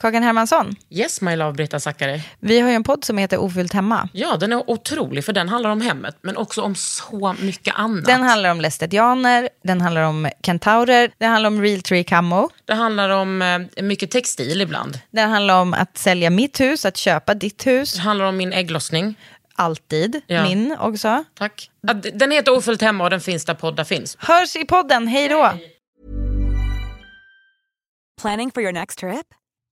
Kakan Hermansson, Yes my love Britta Zackari. vi har ju en podd som heter Ofyllt hemma. Ja, den är otrolig för den handlar om hemmet men också om så mycket annat. Den handlar om lästetianer, den handlar om kentaurer, den handlar om real tree camo, det handlar om eh, mycket textil ibland. den handlar om att sälja mitt hus, att köpa ditt hus, Det handlar om min ägglossning. alltid, Ja. min också. Tack. Ja, d- Den heter Ofullt hemma och den finns där poddar finns. Hörs i podden, hej då! Planning for your next trip?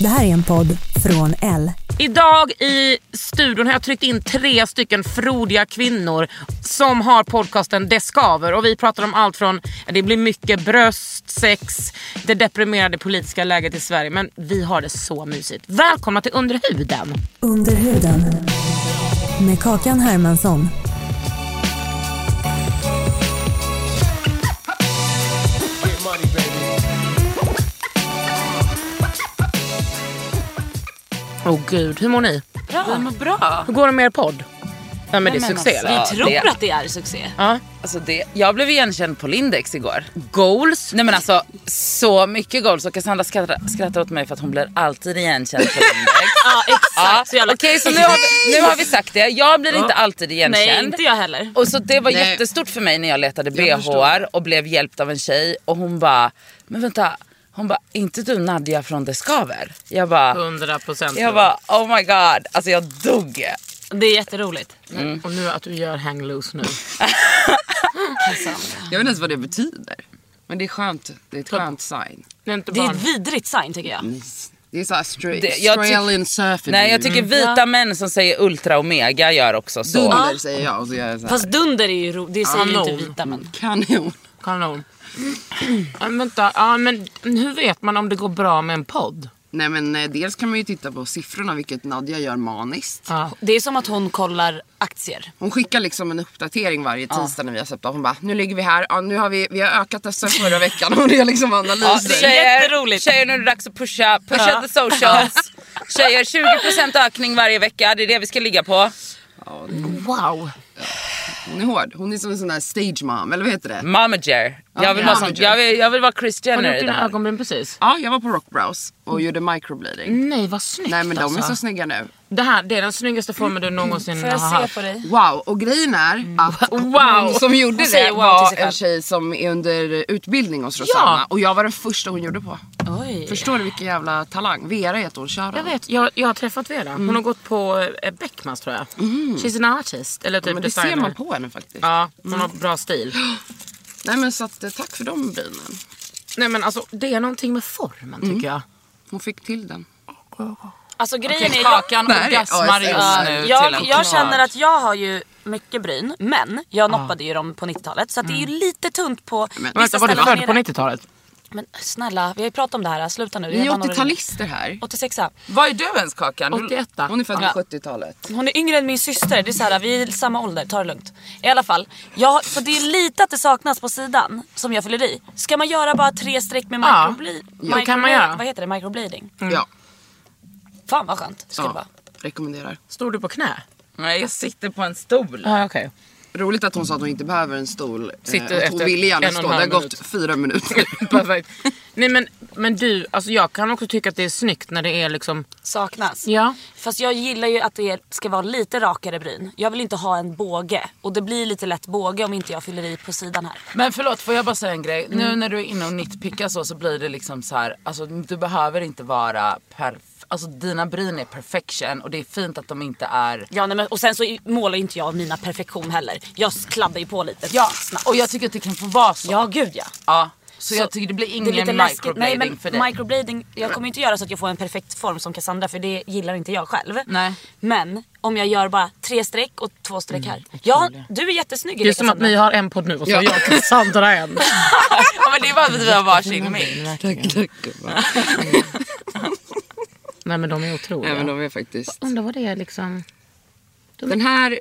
Det här är en podd från L. Idag i studion har jag tryckt in tre stycken frodiga kvinnor som har podcasten Det skaver och vi pratar om allt från det blir mycket bröst, sex, det deprimerade politiska läget i Sverige men vi har det så mysigt. Välkomna till Underhuden! Under huden. Med Kakan Hermansson. Åh gud, hur mår ni? Bra. Men bra. Hur går det med er podd? Ja men det är succé eller? alltså, Vi tror det- att det är succé. Ja. Alltså det, jag blev igenkänd på Lindex igår. Goals? Nej men alltså så mycket goals och Cassandra skrattar, skrattar åt mig för att hon blir alltid igenkänd på Lindex. Ja Ja, exakt. Så jävla- Okej så nu har, vi, nu har vi sagt det, jag blir inte alltid igenkänd. Nej inte jag heller. Och så det var Nej. jättestort för mig när jag letade Jag förstår. bhar och blev hjälpt av en tjej och hon bara, men vänta, hon bara, inte du Nadja från Det Skaver? Jag bara, 100 procent. jag bara oh my god, alltså jag dog. Det är jätteroligt. Mm. Och nu att du gör hang loose nu. Jag vet inte ens vad det betyder. Men det är skönt. Det är ett skönt sign. Det är inte Det är barn. ett vidrigt sign tycker jag. Det är såhär stra- Det- jag tyck- Australian surfing. Nej jag Mm. tycker vita män som säger ultra omega gör också så. Dunder säger jag och så gör jag såhär. Fast dunder är ju ro- det säger ju Kanon. inte vita men. Kanon. Kanon. Ja, vänta, ja, men hur vet man om det går bra med en podd? Nej men eh, dels kan man ju titta på siffrorna vilket Nadja gör maniskt. Ja. Det är som att hon kollar aktier. Hon skickar liksom en uppdatering varje tisdag när vi har släppt av. Hon bara, nu ligger vi här, ja, nu har vi, vi har ökat dessa förra veckan. Hon är liksom Ja, analyser. tjejer, jätteroligt. tjejer, nu är det dags att pusha. Pusha the socials. Tjejer, 20% ökning varje vecka. Det är det vi ska ligga på. Wow. Hon är hård. Hon är som en sån där stage mom, eller vad heter det? Momager. Jag vill vara sån. momager. Jag vill, jag vill vara Chris Har du Jenner gjort i det dina här. ögonbryn precis? Ja, jag var på Rockbrows och gjorde microbleeding. Nej vad snyggt Nej men de är Mm. alltså. så snygga nu. Det här det är den snyggaste formen du någonsin Får jag har haft. se på dig? Wow, och grejen är att hon som gjorde Hon det säger wow till var sig en själv. tjej som är under utbildning hos Rosanna Ja. och jag var den första hon gjorde på. Oj. Förstår du vilken jävla talang? Vera heter hon, kör Jag henne. vet, jag, jag har träffat Vera. Hon har gått på eh, Beckmans tror jag. She's an artist. Eller typ Men det designer. ser man på henne faktiskt. Ja, hon har bra stil. Nej men så att, eh, tack för de brynen. Nej men alltså det är någonting med formen tycker jag. Hon fick till den. Alltså Mm. grejen är jag, Kakan Där är det. orgasmar Ja, just nu till jag, en jag känner att jag har ju mycket bryn men jag noppade ju dem på 90-talet så att det är Mm. ju lite tunt på Men vissa vänta, var du ställen. född på Men- 90-talet? Men eh, snälla vi har ju pratat om det här, sluta nu. Ni Jag är var några- 80-talister här. 86 Vad är du ens Kakan? Hur- 81 Hon är född Ja. på 70-talet. Hon är yngre än min syster, det är så här, vi är samma ålder, ta det lugnt. I alla fall, jag, för det är lite att det saknas på sidan som jag fyller i. Ska man göra bara tre streck med Ja, microbleeding? ja, det kan man göra. Vad heter det? Microbleeding? Mm. Ja, Fan vad skönt skulle det ja. vara. rekommenderar. Stod du på knä? Nej jag sitter på en stol. Ja okej. Roligt att hon sa att hon inte behöver en stol. eh, Sitter att hon efter ville gärna en och en stå. Det har halv gått minut. fyra minuter. Perfekt. Nej men, men du, alltså jag kan också tycka att det är snyggt när det är liksom... Saknas. Ja. Fast jag gillar ju att det ska vara lite rakare bryn. Jag vill inte ha en båge. Och det blir lite lätt båge om inte jag fyller i på sidan här. Men förlåt får jag bara säga en grej. Mm. Nu när du är inne och nitpickar så så blir det liksom så här. Alltså du behöver inte vara perf... Alltså dina bryn är perfection och det är fint att de inte är Ja, nej, men, och sen så i- målar inte jag mina perfektion heller. Jag kladdar ju på lite. Ja, snabbt. och jag tycker att det kan få vara så. Ja, gud ja. Ja. Så, jag tycker det blir ingen det är lite läskigt. microblading Nej, men för dig. Microblading, jag kommer inte göra så att jag får en perfekt form som Cassandra för det gillar inte jag själv. Nej. Men om jag gör bara tre streck och två streck här. Ja, du är jättesnygg i Det är som att Cassandra. ni har en podd nu och så har jag och Cassandra en. Ja, men det är bara för att vi har varsin mick. Nej men de är Nej, men otroliga. de är faktiskt... Undrar vad det är liksom. Den här... eh,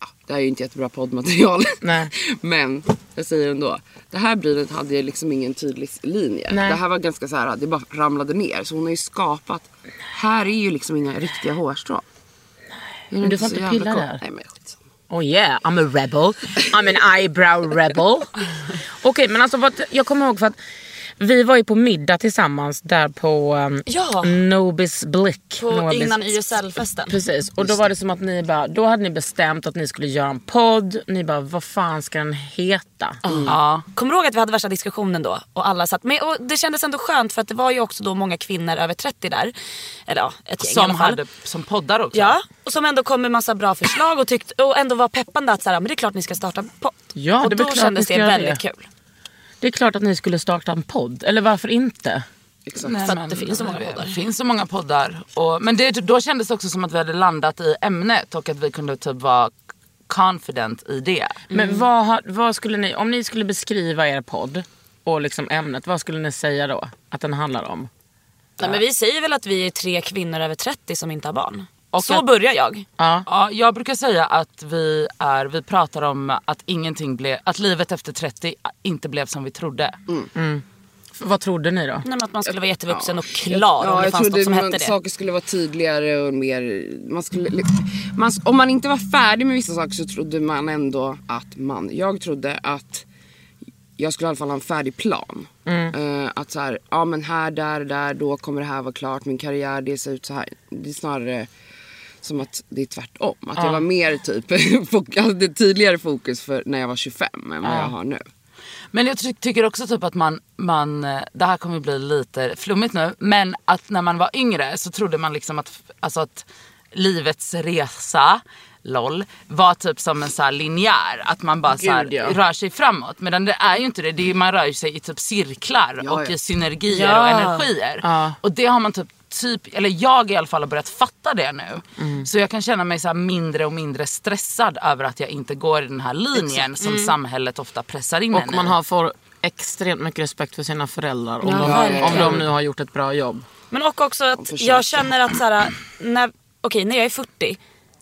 ja, Det här är ju inte jättebra poddmaterial. Nej. Men jag säger ändå. Det här brynet hade ju liksom ingen tydlig linje. Nej. Det här var ganska så här, det bara ramlade ner. Så hon har ju skapat. Här är ju liksom inga riktiga hårstrån. Är det du får så inte jävla pilla coolt? där. Nej men skitsamma. Oh yeah, I'm a rebel. I'm an eyebrow rebel. Okej, men alltså vad, jag kommer ihåg för att vi var ju på middag tillsammans där på um, Ja. Nobis Blick. På, Nobis. innan YSL-festen. Precis, och då var det som att ni bara, då hade ni bestämt att ni skulle göra en podd. Ni bara, vad fan ska den heta? Ja. Kommer du ihåg att vi hade värsta diskussionen då? Och alla satt med. Och det kändes ändå skönt för att det var ju också då många kvinnor över 30 där. Eller ja, ett gäng i Som, alla fall. hade, som poddar också. Ja, och som ändå kom med massa bra förslag och, tyckt, och ändå var peppande att så här, men det är klart ni ska starta en podd. Ja, det är och väl då klart ni kändes ska det göra väldigt det. kul. Det är klart att ni skulle starta en podd, eller varför inte? Exakt. Nej, För att men det finns så många poddar. Det finns så många poddar. Och, men det, då kändes det också som att vi hade landat i ämnet och att vi kunde typ vara confident i det. Mm. Men vad, har- vad skulle ni, om ni skulle beskriva er podd och liksom ämnet, vad skulle ni säga då att den handlar om? Nej, men vi säger väl att vi är tre kvinnor över 30 som inte har barn. Och så att- börjar jag. Ja. Ja, jag brukar säga att vi, är, vi pratar om att, ingenting blev, att livet efter 30 inte blev som vi trodde. Mm. F- Mm. Vad trodde ni då? Nej, men att man skulle vara jättevuxen och klar om det fanns något som man- hette det. saker skulle vara tydligare och mer... Man skulle, liksom- man, om man inte var färdig med vissa saker så trodde man ändå att man... Jag trodde att jag skulle i alla fall ha en färdig plan. Mm. Eh, att så här, ja men här, där, där, då kommer det här vara klart. Min karriär, det ser ut så här. Det är snarare som att det är tvärtom. Att jag var mer typ, fok- jag hade tydligare fokus för när jag var 25 än vad jag har nu. Men jag ty- tycker också typ att man, man, eh, det här kommer bli lite flummigt nu, men att när man var yngre så trodde man liksom att, f- alltså att livets resa, LOL, var typ som en så här linjär. Att man bara så här, Gud, ja. rör sig framåt. Men det är ju inte det. det är, ju- man rör ju sig i typ cirklar Ja, och ja. i synergier Ja. och energier. Ja. Och det har man typ Typ, eller jag i alla fall har börjat fatta det nu. Mm. Så jag kan känna mig så här mindre och mindre stressad över att jag inte går i den här linjen som samhället ofta pressar in en Mm. Och i. man har får extremt mycket respekt för sina föräldrar om, de, verkligen. om de nu har gjort ett bra jobb. Men och också att jag känner att så här, när, okej, när jag är 40.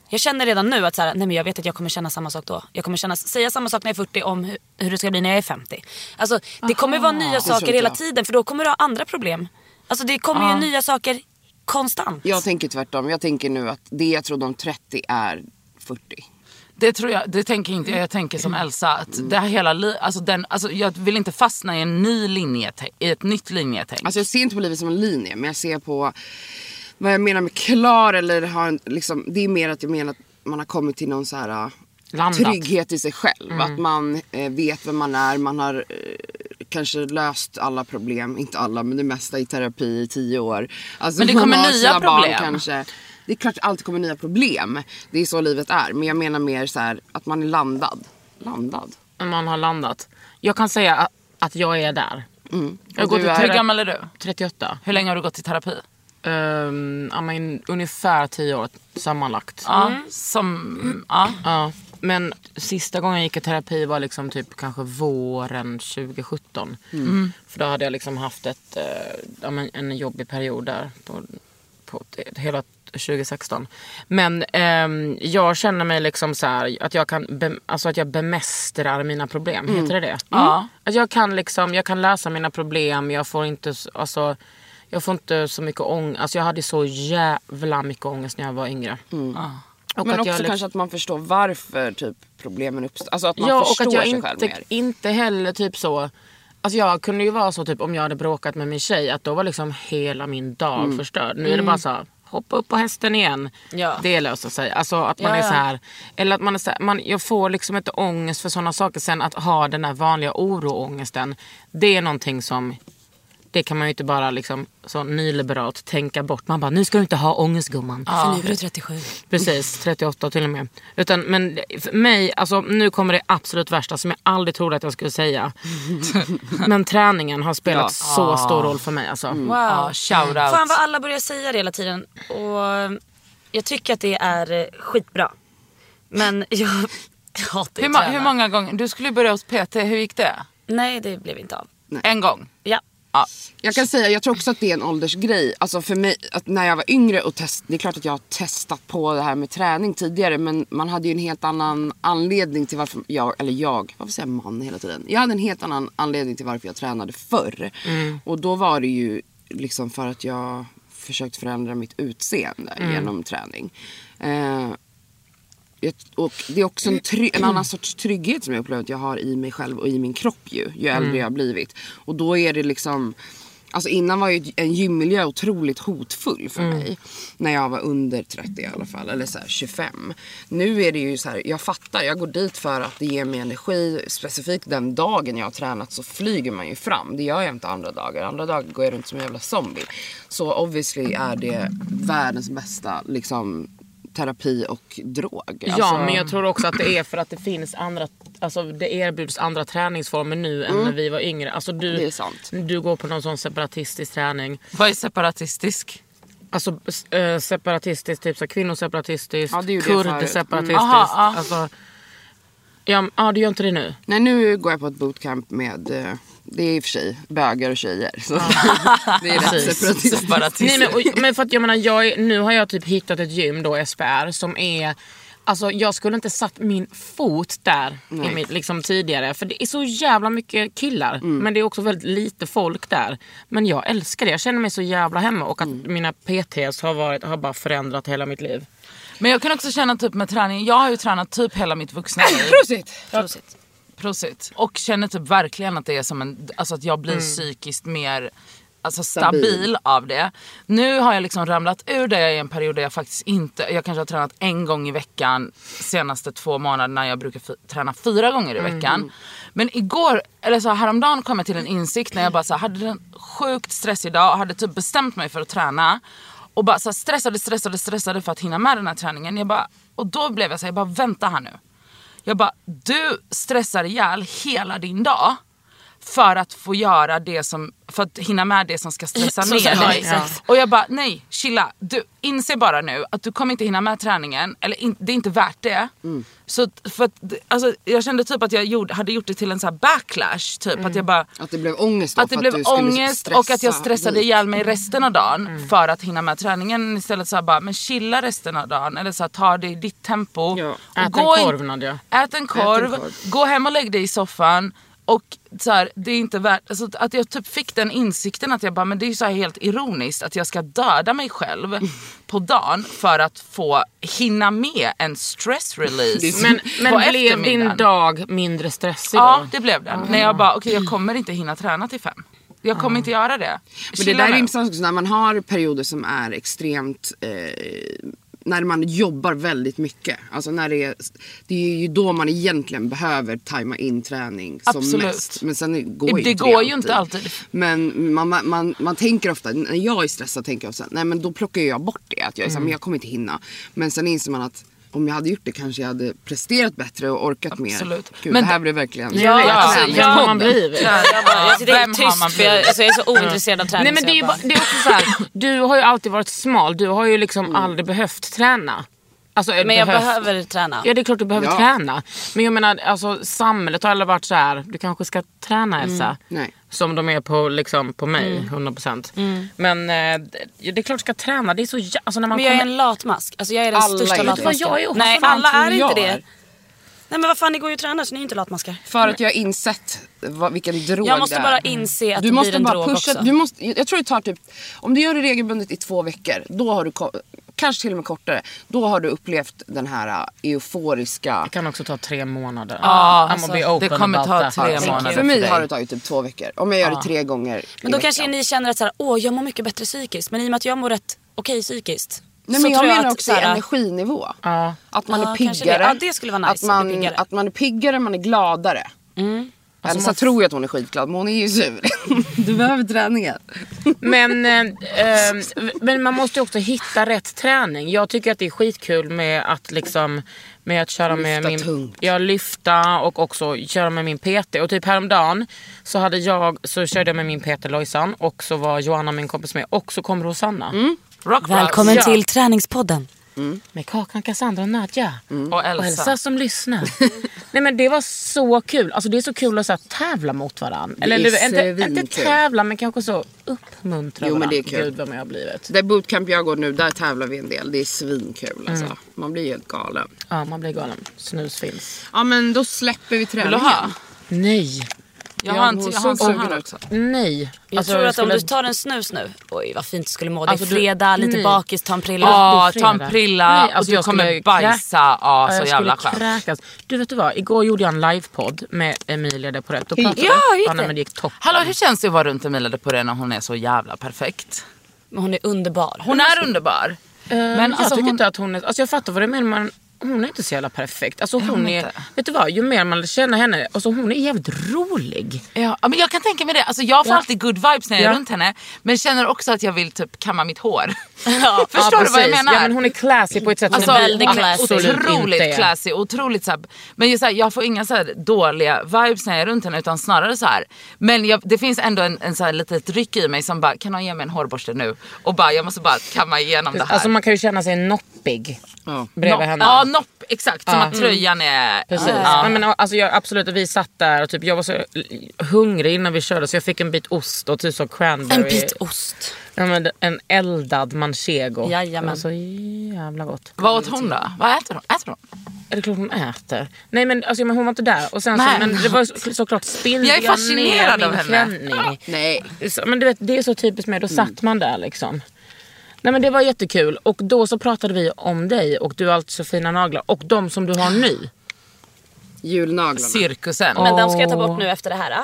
Jag känner redan nu att så här, nej men jag vet att jag kommer känna samma sak då. Jag kommer känna, säga samma sak när jag är 40 om hur, hur det ska bli när jag är 50. Alltså det kommer Ah. vara nya saker inte hela jag. tiden för då kommer du ha andra problem. Alltså det kommer Ah. ju nya saker konstant. Jag tänker tvärtom. Jag tänker nu att det jag trodde om 30 är 40. Det tror jag, det tänker inte jag. Jag tänker som Mm. Elsa. Att det här hela li- alltså den, alltså jag vill inte fastna i, en ny linjetä- i ett nytt linjetänk. Alltså jag ser inte på livet som en linje men jag ser på vad jag menar med klar eller har en, liksom, det är mer att jag menar att man har kommit till någon så här äh, Landat. Mm. trygghet i sig själv. Att man eh, vet vem man är, man har eh, kanske löst alla problem, inte alla men det mesta i terapi i tio år. Alltså, Men det man kommer har nya sina barn problem. kanske. Det är klart att det alltid kommer nya problem. Det är så livet är. Men jag menar mer så här att man är landad. Landad? När man har landat. Jag kan säga att, att jag är där. Jag går Mm. du till är- tera- Hur gammal är du? 38. Hur länge har du gått i terapi? Ehm, ja, men, ungefär 10 år sammanlagt. Ja, som, ja. Ja, men sista gången jag gick i terapi var liksom typ kanske våren 2017. För då hade jag liksom haft ett, eh, ja, men en jobbig period där på, på t- hela 2016. Men ehm, jag känner mig liksom så här att jag kan, be, alltså att jag bemästrar mina problem, heter det det? Ja. Att jag kan liksom, jag kan lösa mina problem, jag får inte, s- alltså jag får inte så mycket ångest, alltså jag hade så jävla mycket ångest när jag var yngre. Mm. Och men att jag också liksom- kanske att man förstår varför typ, problemen uppstår. Alltså att man ja, och förstår att jag sig inte, själv mer. inte heller typ så... Alltså jag kunde ju vara så typ om jag hade bråkat med min tjej att då var liksom hela min dag förstörd. Nu är det bara så här, hoppa upp på hästen igen. Ja. Det löser sig. Alltså att man Ja, är ja. så här, eller att man är så här, man, jag får liksom inte ångest för sådana saker. Sen att ha den där vanliga oro-ångesten, det är någonting som Det kan man ju inte bara liksom, så nyliberalt tänka bort. Man bara, nu ska du inte ha ångest gumman. För nu är du 37. Precis, 38 till och med. Utan, men för mig, alltså, nu kommer det absolut värsta som jag aldrig trodde att jag skulle säga. men träningen har spelat så stor roll för mig. Alltså. Mm. Ja, shout Fan out. vad alla börjar säga det hela tiden. Och eh, jag tycker att det är eh, skitbra. Men jag hatar ju Hur, ma- träna. hur många gånger? Du skulle ju börja hos PT, hur gick det? Nej det blev inte av. En gång? Ja. Jag kan säga, jag tror också att det är en åldersgrej. Alltså för mig, att när jag var yngre och test, det är klart att jag har testat på det här med träning tidigare men man hade ju en helt annan anledning till varför jag, eller jag, varför säger jag man hela tiden? Jag hade en helt annan anledning till varför jag tränade förr. Och då var det ju liksom för att jag försökt förändra mitt utseende genom träning. Eh, jag- och det är också en, try- en annan sorts trygghet som jag upplever att jag har i mig själv och i min kropp ju, ju äldre jag har blivit. Och då är det liksom, alltså innan var ju en gymmiljö otroligt hotfull för mig. När jag var under 30 i alla fall, eller så här 25. Nu är det ju så här, jag fattar, jag går dit för att det ger mig energi. Specifikt den dagen jag har tränat så flyger man ju fram. Det gör jag inte andra dagar. Andra dagar går jag runt som en jävla zombie. Så obviously är det världens bästa liksom terapi och drog. Alltså, Ja men jag tror också att det är för att det finns andra, alltså det erbjuds andra träningsformer nu än när vi var yngre. Alltså du, Mm. Det är sant. du går på någon sån separatistisk träning. Vad är separatistisk? Alltså äh, separatistiskt, typ så här kvinnoseparatistiskt, Ja, det gjorde jag förut. kurdseparatistiskt. Mm. Aha, ja. Alltså, ja, men- ja du gör inte det nu? Nej, nu går jag på ett bootcamp med, eh, det är i och för sig bögar och tjejer. Så det är rätt Precis. Nej, separatistiskt. men, och, men för att jag menar, jag är, nu har jag typ hittat ett gym då, SPR, som är Alltså jag skulle inte satt min fot där i mitt, liksom, tidigare. För det är så jävla mycket killar. Men det är också väldigt lite folk där. Men jag älskar det. Jag känner mig så jävla hemma. Och att mina PTs har, varit, har bara förändrat hela mitt liv. Men jag kan också känna typ med träning, jag har ju tränat typ hela mitt vuxna liv. Prosit! Prosit. Prosit. Och känner typ verkligen att det är som en, alltså att jag blir psykiskt mer alltså stabil, Stabil. av det. Nu har jag liksom ramlat ur det i en period där jag faktiskt inte, jag kanske har tränat en gång i veckan senaste två månaderna, jag brukar fy- träna fyra gånger i veckan. Men igår, eller så häromdagen kom jag till en insikt när jag bara så här, hade en sjukt stressig dag och hade typ bestämt mig för att träna. Och bara så här stressade, stressade, stressade för att hinna med den här träningen. Jag bara, och då blev jag så här, jag bara vänta här nu. Jag bara, du stressar ihjäl hela din dag för att få göra det som, för att hinna med det som ska stressa Som ska- ner ja, dig. exakt. Och jag bara, nej chilla, du inser bara nu att du kommer inte hinna med träningen, eller in, det är inte värt det. Mm. Så att- för att, alltså, jag kände typ att jag gjorde, hade gjort det till en så här backlash, typ att jag bara Mm. Att det blev ångest då, att det för blev du skulle ångest och att jag stressa Mm. stressade dit. ihjäl mig resten av dagen för att hinna med träningen. Istället så här bara, men chilla resten av dagen. Eller så här, ta det i ditt tempo. Ja. Och Ät gå en in- korv Nadja. Ät en korv, korv. gå hem och lägg dig i soffan. Och så här, det är inte värt, alltså att jag typ fick den insikten att jag bara, men det är ju så här helt ironiskt att jag ska döda mig själv på dagen för att få hinna med en stress Det är release så- Men, på men blev din eftermiddagen. dag mindre stressig Ja, då? det blev den. När jag bara, okej jag kommer inte hinna träna till fem. Jag kommer inte göra det. Men det Chilla där är nu. intressant också när man har perioder som är extremt eh, när man jobbar väldigt mycket. Alltså när det, är, det är ju då man egentligen behöver tajma in träning som Absolut. mest. Men sen går Det ju inte går ju inte alltid. Men man, man, man, man tänker ofta, när jag är stressad tänker jag ofta, nej men då plockar jag bort det. Att jag Mm. är så här, men jag kommer inte hinna. Men sen inser man att om jag hade gjort det kanske jag hade presterat bättre och orkat mer. Absolut. Gud, Men det här d- blev verkligen Ja, Ja, alltså, träning. ja, Podden. man blivit. Jag, bara, jag sitter helt Vem har man tyst för jag, blivit? alltså, jag är så ointresserad av träning. Nej men så det är, jag ju bara- bara, det är också så här, du har ju alltid varit smal, du har ju liksom aldrig behövt träna. Alltså, Mm. men jag behövt. behöver träna. Ja det är klart du behöver Ja. träna. Men jag menar alltså samhället har aldrig varit så här. du kanske ska träna Mm. Elsa. Nej. Som de är på, liksom, på mig, 100%. Men eh, det det är klart du ska träna, det är så jä- alltså, när man Mm. Men jag är kommer... en latmask. Alltså jag är den Alla är största det. latmasken. Vet du vad jag är också? Nej Fan, alla tror är jag inte det. är. Nej men vad fan ni går ju och tränar så ni är inte latmaskar. För att jag har insett vad, vilken drog Jag måste det är. bara inse att du det måste blir en bara drog pusha, också. du måste, Jag tror det tar typ, om du gör det regelbundet i två veckor, då har du ko- kanske till och med kortare, då har du upplevt den här uh, euforiska... Det kan också ta tre månader. Ja, I'm alltså, gonna be open det kommer about ta that. tre månader. för mig för har dig. det tagit typ två veckor. Om jag gör det tre gånger Men i då veckan. kanske ni känner att så här, åh, jag mår mycket bättre psykiskt. Men i och med att jag mår rätt okej psykiskt. Nej, men jag tror menar att också så här- energinivå. Att man Ja, är kanske det. piggare. Ja, det skulle vara nice att om man, du är piggare. Mm. Att man är piggare, man är gladare. Alltså, Eller så tror jag att hon är skitglad men hon är ju sur. du behöver träningen. Men, eh, eh, men man måste ju också hitta rätt träning. Jag tycker att det är skitkul med att liksom med att köra med Lyfta min, tungt. ja, lyfta och också köra med min PT. Och typ häromdagen så, hade jag, så körde jag med min PT Lojsan och så var Johanna min kompis med och så kom Rosanna. Mm. Rock Bros. Välkommen Ja. till träningspodden. Med Kakan, Cassandra och Nadja. Mm. Och Och Elsa. Elsa som lyssnar. Nej men det var så kul. Alltså det är så kul att så här, tävla mot varandra. Eller är du, inte, inte svinkul. tävla men kanske så uppmuntra Jo, men varandra. det är kul. Gud vad man har blivit. Det bootcamp jag går nu där tävlar vi en del. Det är svinkul alltså. Mm. Man blir ju helt galen. Ja man blir galen. Snus finns. Ja men då släpper vi Vill du träningen. ha? Nej. Jag har en hon till- jag såg har en sån sugen här ut. också. Nej. Jag Alltså, tror att skulle- om du tar en snus nu, oj vad fint du skulle må. Det är Alltså, du- fredag, lite nej. bakis, ta en prilla. Ja, på ta en fredag. prilla Nej, alltså och jag du kommer skulle bajsa. kräk- Ja, Ja, så jag jävla skulle skönt. kräkas. Du vet du vad, igår gjorde jag en livepodd med Emilia de Porretto. Ja, hur gick ja, nej, det? men det gick toppen. Hallå hur känns det att vara runt Emilia de Poré när hon är så jävla perfekt? Men hon är underbar. Hon är underbar. Men Eh, jag alltså, tycker hon- inte att hon är... Alltså jag fattar vad du menar men hon är inte så jävla perfekt. Alltså hon hon är... inte? Vet du vad, ju mer man känner henne, alltså hon är jävligt rolig. Ja, men jag kan tänka mig det. Alltså, jag får Ja. alltid good vibes när jag är Ja. runt henne. Men känner också att jag vill typ kamma mitt hår. Ja, Förstår du vad jag precis. menar? Ja men hon är classy på ett sätt Alltså, som väldigt hon är classy. absolut inte Otroligt är. classy. Otroligt så här, men just så här, jag får inga så här dåliga vibes när jag är runt henne utan snarare så här. Men jag, det finns ändå en, en så här litet ryck i mig som bara, kan någon ge mig en hårborste nu? Och bara, jag måste bara kamma igenom det här. Alltså man kan ju känna sig noppig Ja. bredvid Nopp- henne. Ja, nopp, exakt. Som Ja. att tröjan är... Precis. Ja. Nej, men, alltså, jag, absolut, och vi satt där och typ, jag var så hungrig innan vi körde så jag fick en bit ost och typ så cranberry. En bit ost. Ja, men, en eldad manchego. Jajamän. Det var så jävla gott. Vad åt hon då? Vad äter hon? Äter hon? Är det klart hon äter? Nej men, alltså, men hon var inte där. Och sen så, Nej. men det var så- såklart spillde Jag är fascinerad ner av min henne. klänning. Nej. Så, men du vet, det är så typiskt mig. Då satt man där liksom. Nej men det var jättekul. Och då så pratade vi om dig och du har alltid så fina naglar. Och de som du har nu. Julnaglarna. Cirkusen. Men den ska jag ta bort nu efter det här.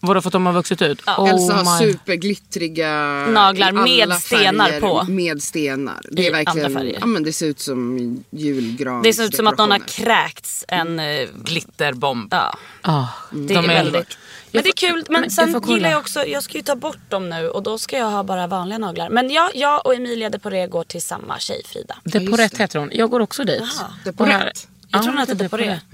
Vadå för att de har vuxit ut? Ja. Elsa har my- superglittriga Oh Naglar i alla med stenar färger, på. Med stenar. Det I är verkligen, andra färger. ja men det ser ut som julgran. Det ser ut som att någon har kräkts en... eh, Glitterbomb. Ja, Ah, Mm. det är väldigt... Men det är kul, men, men jag sen får kolla. gillar jag också, jag ska ju ta bort dem nu och då ska jag ha bara vanliga naglar. Men jag, jag och Emilia de Poré går till samma tjej, Frida. Det på rätt heter hon. Jag går också dit. Det är på Och här- rätt. Jag Ja, tror hon heter det är de på Poré. rätt.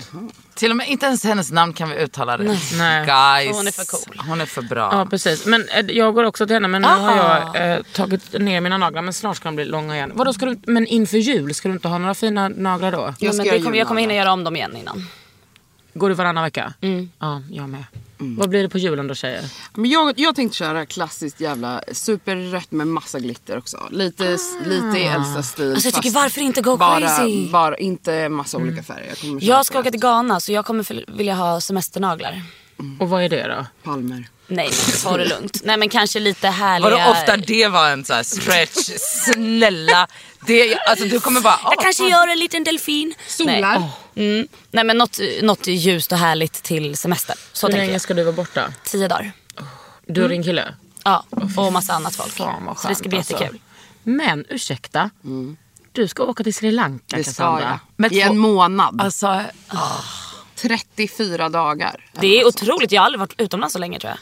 Till och med inte ens hennes namn kan vi uttala rätt. Nej. Guys. Hon är för cool. Hon är för bra. Ja precis, men eh, jag går också till henne men nu har jag eh, tagit ner mina naglar men snart ska de bli långa igen. Vadå, ska du, men inför jul, ska du inte ha några fina naglar då? Jag, Jag ska men det göra kommer, jag kommer hinna julnaglar. göra om dem igen innan. Går du varannan vecka? Mm. Ja, jag med. Vad blir det på julen då tjejer? Men jag, jag tänkte köra klassiskt jävla superrött med massa glitter också. Lite, lite i Elsas stil. Ah. Alltså, jag tycker, fast varför inte go bara, crazy? Mm. Bara, inte massa olika färger. Jag, kommer köra Jag ska på åka rätt. till Ghana så jag kommer för- vilja ha semesternaglar. Och vad är det då? Palmer. Nej, men ta det lugnt. Nej men kanske lite härliga... Vadå ofta det var en så här stretch? Snälla. Det, alltså du kommer bara... Jag åh, kanske fan. gör en liten delfin. Nej, Solar. mm. Nej men något, något ljust och härligt till semestern. Så Hur tänker länge jag. ska du vara borta? Tio dagar. Du och din kille? Ja, och massa annat folk. Fan vad skönt, så det ska bli jättekul. Mm. Alltså. Men ursäkta, du ska åka till Sri Lanka Det ska jag. Cassandra. Med I två- en månad. Alltså, 34 dagar. Det är otroligt, jag har aldrig varit utomlands så länge tror jag.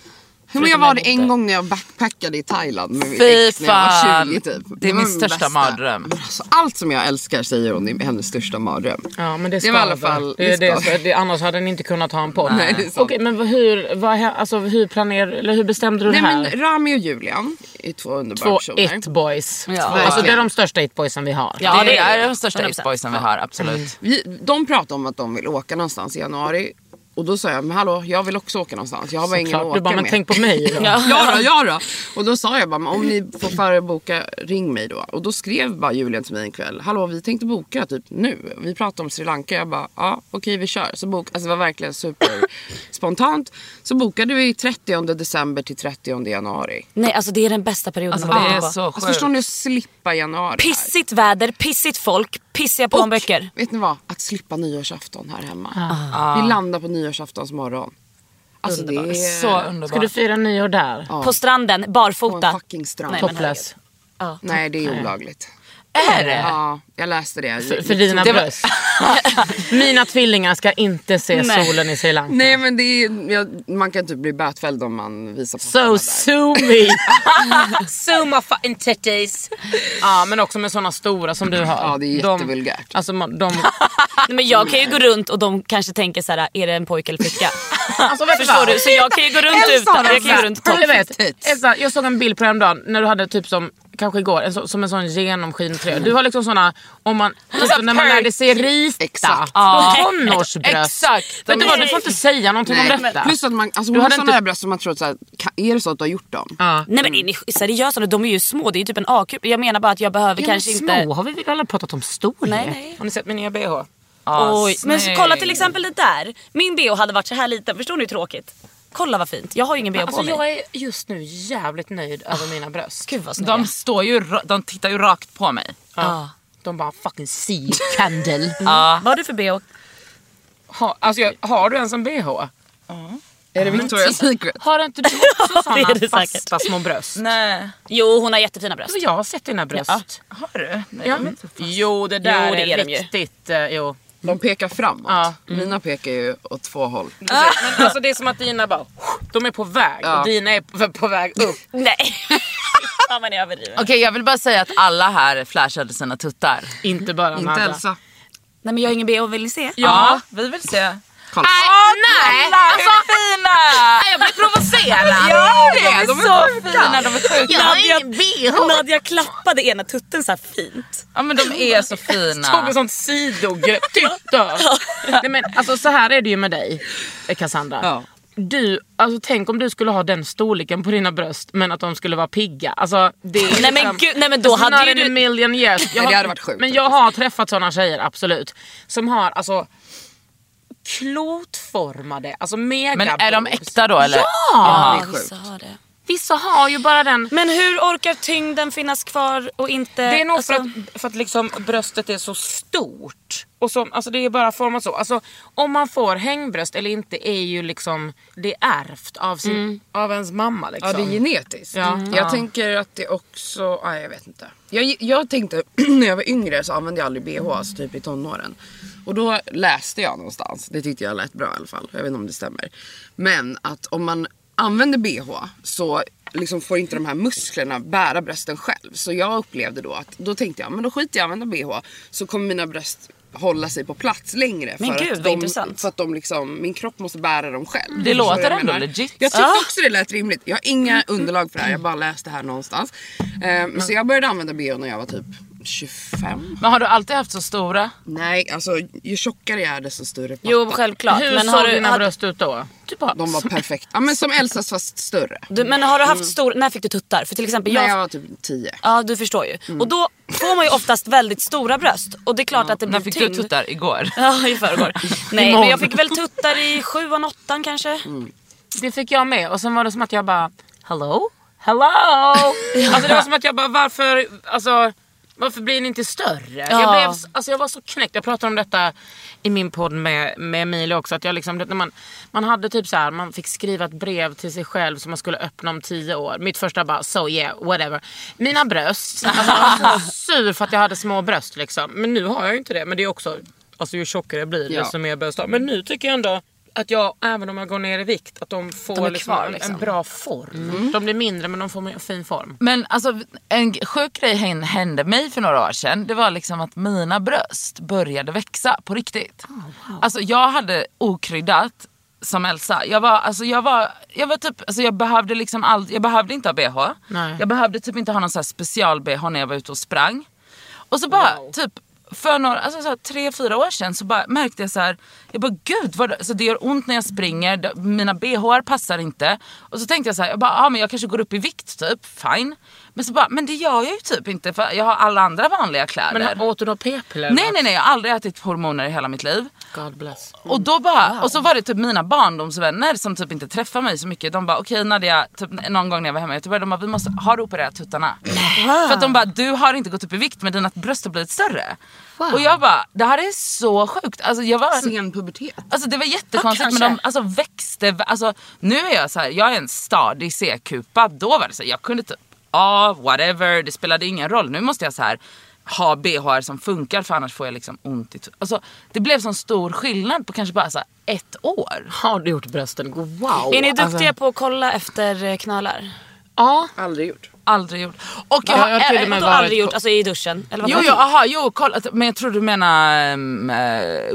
Hur jag Förutom var när det jag en bodde. gång när jag backpackade i Thailand med mitt Fy ex när jag var fan. 20 typ. Det är var min största mardröm. Men Alltså, allt som jag älskar säger hon är hennes största mardröm. Ja men det Det ska var i alla vi. fall- det, det det, ska det, annars hade ni inte kunnat ha en podd. Nej, det är sant. Okej men vad- hur, vad, hä- alltså, hur planerade, eller hur bestämde du Nej det här? men Rami och Julian är två underbara Två personer. it boys. Ja. Alltså det är de största it boysen vi har. Ja, det det är är det. de största 100%. hitboysen vi har, absolut. Vi, de pratade om att de vill åka någonstans i januari. Och då sa jag, men hallå jag vill också åka någonstans. Jag har bara ingen att Klart, åka du bara, med. men tänk på mig då. Ja då, ja då. Och då sa jag bara, men om ni får förboka, ring mig då. Och då skrev bara Julian till mig en kväll, hallå vi tänkte boka typ nu. Vi pratade om Sri Lanka, jag bara, ja okej vi kör. Så bok, alltså det var verkligen super spontant. Så bokade vi 30 december till 30 januari. Nej alltså det är den bästa perioden Alltså, att vara det är på. så Alltså, förstår sjukt. ni att slippa januari? här? Pissigt väder, pissigt folk, pissiga plånböcker. Vet ni vad? Att slippa nyårsafton här hemma. Vi landar på nyårsaftons morgon. Alltså det är... Så Ska underbart. du fira nyår där? Ja. På stranden, På en barfota. fucking strand. Nej, men- Topless. Nej det är olagligt. Är det? Ja, jag läste det. För, för dina Det var- bröst. Mina tvillingar ska inte se solen i Sri Lanka. Nej men det är, ja, man kan typ bli bötfälld om man visar på sådana So där. sue me! So my fucking titties. ja men också med såna stora som du har. Ja, det är De- jättevulgärt. Alltså man- de... Nej, men jag kan ju gå runt och de kanske tänker så här: är det en pojke eller flicka? alltså, vet Förstår du? Så jag kan ju gå runt utan, jag kan ju gå runt Jag vet. tits. Elsa, jag såg en bild på dig häromdagen när du hade typ som, kanske igår, en så, som en sån genomskinlig tröja. Du har liksom såna, om man, alltså, när man lärde sig rita. Exakt. Ja. Tonårsbröst. Exakt. Vet du vad, du får inte säga någonting Nej, om detta. Plus att man, alltså, hon Du har hade sådana inte- här bröst som man tror att så här, kan- är det så att du har gjort dem? ja. Nej men är ni seriösa nu? De är ju små, det är ju typ en A-kupa. Jag menar bara att jag behöver Ja, men kanske små inte... har vi väl alla pratat om storlek? Nej, nej. Har ni sett min nya bh? Ja, Oj. Men så snygg. kolla till exempel det där. Min bh hade varit så här liten, förstår ni hur tråkigt? Kolla vad fint, jag har ju ingen bh Alltså på mig. jag är just nu jävligt nöjd över mina bröst. Gud vad snygga. De, står ju, ra- de tittar ju rakt på mig. Ja. De bara fucking see candle. Vad har du för bh? ha, alltså jag, har du ens en bh? Är det Victoria's Secret? Har inte du också Det är såna det fasta säkert. små bröst? Nej. Jo hon har jättefina bröst. Alltså jag har sett dina bröst. Har du? Nej, Ja. de är inte fast. Jo det där Jo, det är, är de ju. riktigt... eh, jo. De pekar framåt. Ja. Mina pekar ju åt två håll. Men alltså det är som att dina bara... De är på väg Ja. och dina är på, på väg upp. Nej. Fan vad ni överdriver. Okej jag vill bara säga att alla här flashade sina tuttar. Inte bara Inte Amanda. Elsa. Nej men jag har ingen bh, vill ni se? Ja, vi vill se. Kolla. Åh nej! Alltså, äh, fina! Nej, Jag blir provocerad! Ja, det är, de är så fina, de är sjuka. Jag har ingen bh! Nadja klappade ena tutten så här fint. Ja men de är så Tog fina. ett sånt sidogrepp. Titta! Nej men alltså så här är det ju med dig eh, Cassandra. Ja. Du, alltså tänk om du skulle ha den storleken på dina bröst men att de skulle vara pigga. Alltså, det är Nej, men liksom- gud, nej, men då It's hade not ju in du- a million years. Jag Nej, det har- hade varit sjukt Men jag har träffat såna tjejer, absolut. Som har alltså klotformade, alltså mega Men är de boobs. äkta då eller? Ja! det är sjukt. har det. Vissa har ju bara den Men hur orkar tyngden finnas kvar och inte... Eh, Det är nog för alltså- att, för att liksom bröstet är så stort. Och så, alltså det är bara format så. Alltså, om man får hängbröst eller inte är ju liksom det är ärvt av, sin, av ens mamma. Liksom. Mm. Ja det är genetiskt. Mm. Ja. Jag Ja. tänker att det också, nej jag vet inte. Jag, jag tänkte när jag var yngre så använde jag aldrig bh, alltså typ i tonåren. Och då läste jag någonstans, det tyckte jag lät bra i alla fall, jag vet inte om det stämmer. Men att om man använder bh så liksom får inte de här musklerna bära brösten själv. Så jag upplevde då att, då tänkte jag men då skiter jag i att använda bh så kommer mina bröst hålla sig på plats längre. Men för gud, att vad de, intressant. Mm. För att de liksom, min kropp måste bära dem själv. Det Förstår du låter vad jag ändå menar? legit. Jag tyckte också det lät rimligt. Jag har inga underlag för det här. Jag bara läste det här någonstans. Ehm, så jag började använda bh när jag var typ 25. Men har du alltid haft så stora? Nej, alltså ju tjockare jag är desto större pappa. Jo självklart. Hur men, såg har du, dina hade- bröst ut då? Typ bara, De var perfekta. Ja, men som Elsas fast större. du, men har du haft stor... När fick du tuttar? För till exempel När jag... jag var typ 10. Ja du förstår ju. Och då får man ju oftast väldigt stora bröst. Och det är klart att det blir När fick du tyngd. tuttar? Igår? Ja i förrgår. Nej men Imorgon. jag fick väl tuttar i sjuan, åttan kanske. det fick jag med och sen var det som att jag bara hello? Hello! alltså det var som att jag bara varför, alltså, varför blir ni inte större? Jag, Ja. blev, alltså jag var så knäckt, jag pratade om detta i min podd med, med Emilia också. Att jag liksom, det- när man, man hade typ så här, man fick skriva ett brev till sig själv som man skulle öppna om tio år. Mitt första bara so yeah whatever. Mina bröst, alltså jag var så sur för att jag hade små bröst liksom. Men nu har jag ju inte det. Men det är också, alltså ju tjockare jag blir Ja. desto mer bröst har jag. Men nu tycker jag ändå att jag, även om jag går ner i vikt, att de får De är liksom kvar, en, liksom. Mm. en bra form. De blir mindre men de får en fin form. Men alltså en g- sjuk grej hen- hände mig för några år sedan. Det var liksom att mina bröst började växa på riktigt. Ah, Alltså jag hade okryddat som Elsa. Jag var, alltså jag var, jag var typ, alltså jag behövde liksom all, jag behövde inte ha bh. Nej. Jag behövde typ inte ha någon så här special bh när jag var ute och sprang. Och så bara typ för några, alltså så här, tre, fyra år sedan så bara märkte jag så här, jag bara gud vad det, alltså det gör ont när jag springer, det- mina bhar passar inte. Och så tänkte jag så här, jag bara, ah, men jag kanske går upp i vikt typ, fine. Men så bara, men det gör jag ju typ inte för jag har alla andra vanliga kläder. Men åt du några p-piller? nej nej nej, jag har aldrig ätit hormoner i hela mitt liv. God bless. Och då bara, och så var det typ mina barndomsvänner som typ inte träffar mig så mycket. De bara okej Nadia, typ någon gång när jag var hemma i Göteborg, de bara vi måste, har du opererat tuttarna? För att de bara, du har inte gått upp i vikt men dina bröst har blivit större. Och jag bara, det här är så sjukt. Alltså, jag var, Sen pubertet. alltså det var jättekonstigt men de alltså, växte, alltså nu är jag så här, jag är en stadig C-kupa. Då var det så här, jag kunde typ, ja whatever, det spelade ingen roll. Nu måste jag så här ha bhar som funkar för annars får jag liksom ont i t- alltså, Det blev sån stor skillnad på kanske bara så här, ett år. Har du gjort brösten? Wow. Är ni duktiga alltså- på att kolla efter eh, knölar? Ja, Aldrig gjort. aldrig gjort. Och jag, Ja, har jag har till och även- med Vadå varit aldrig på- gjort? Alltså i duschen? Eller vad Jo, fan? jo, aha, jo kolla, att- men jag tror du menar ehm, eh,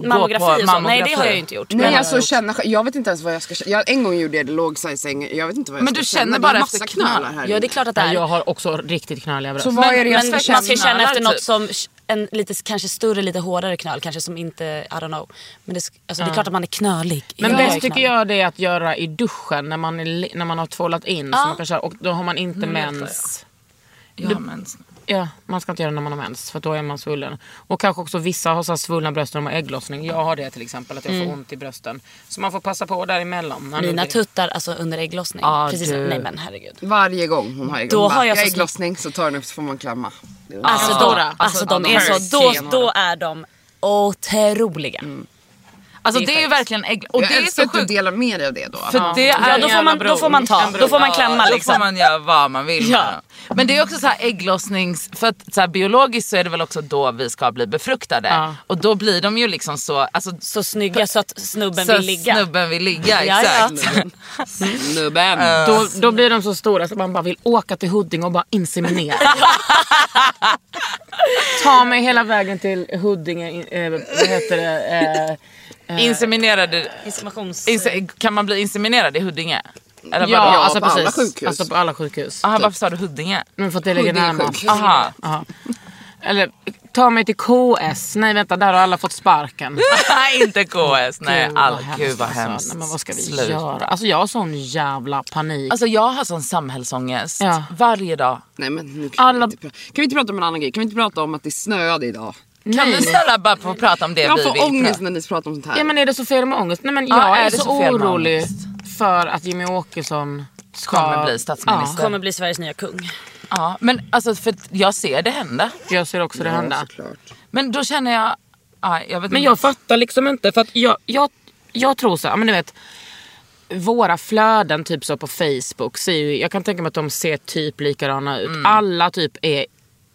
Mammografi gå på och sånt? Nej det har jag ju inte gjort. Nej Men- alltså känna, jag vet inte ens vad jag ska känna. Jag, en gång gjorde jag det, låg så här i sängen. Jag vet inte vad jag Men ska du känna. känner Det bara är efter massa knölar. knölar här Ja inne. det är klart att det Nej, är. jag har också riktigt knöliga bröst. Så vad är det jag Men ska man ska känna? känna efter typ. något som en lite kanske större, lite hårdare knöl. Kanske som inte, I don't know. Men det, sk- alltså, det är klart att man är knölig. Men Jag är bäst tycker knölig. jag det är att göra i duschen när man, är, li- när man har tvålat in. Så Ja. man kan köra, och då har man inte Mm, mens. Ja, men, Ja, man ska inte göra det när man har mens för då är man svullen. Och kanske också vissa har så här svullna bröst när de har ägglossning. Jag har det till exempel, att jag får ont i brösten. Så man får passa på däremellan. Man Mm. Mina inte- tuttar alltså under ägglossning. Ja, Precis, du. nej men herregud. Varje gång hon har Då ägglossning. har Har jag jag så- ägglossning så tar hon upp så får man klämma. Det är- Alltså, Ja. då, Ja. alltså de är Alltså, så, de är då, då är de otroliga. alltså Det det är är ju verkligen ägg... Och jag det är älskar så typ att du sjukt. delar med dig av det då. För det är Ja, då, får man, då får man ta, då får man klämma Ja, Då får liksom. man göra vad man vill. Ja. med dem. Men det är också så här ägglossnings... För att så här, biologiskt så är det väl också då vi ska bli befruktade. Ja. Och då blir de ju liksom så... Alltså, Så snygga så att snubben så vill ligga. Snubben vill ligga, Ja, ja. exakt. Snubben. Då, då blir de så stora så man bara vill åka till Huddinge och bara inseminera. Ta mig hela vägen till Huddinge, in- eh, vad heter det? Eh, eh, Inseminerade... Inseminations... Inse, kan man bli inseminerad i Huddinge? Eller Ja, bara, alltså på alla precis. sjukhus. Alltså på alla sjukhus. Aha, varför sa du Huddinge? Men för att Mm, det ligger Huddinge närmast. sjukhus. Aha. Ja. Eller ta mig till KS. Nej vänta, där har alla fått sparken. Nej, inte KS. Mm. Nej, Gud, all, vad gud vad alltså. hemskt. Nej, men vad ska vi Sluta. göra? Alltså jag har sån jävla panik. Alltså jag har sån samhällsångest Ja. varje dag. Nej men nu kan, Alla- vi inte pra- kan vi inte prata om en annan grej? Kan vi inte prata om att det snöade idag? Kan du snälla bara få prata om det Jag vi får vill ångest prata när ni pratar om sånt här. Ja men är det så fel med ångest? Nej men Ja, jag är, är det så, så fel med orolig ångest? för att Jimmy Åkesson ska... Kommer bli statsminister. Kommer bli Sveriges nya kung. Ja, men alltså för att jag ser det hända. Ja, jag ser också det ja, hända. såklart. Men då känner jag... Ja, jag vet Men inte. jag fattar liksom inte för att jag, jag, jag tror så här, men du vet våra flöden typ så på Facebook, ser ju, jag kan tänka mig att de ser typ likadana ut. Alla typ är,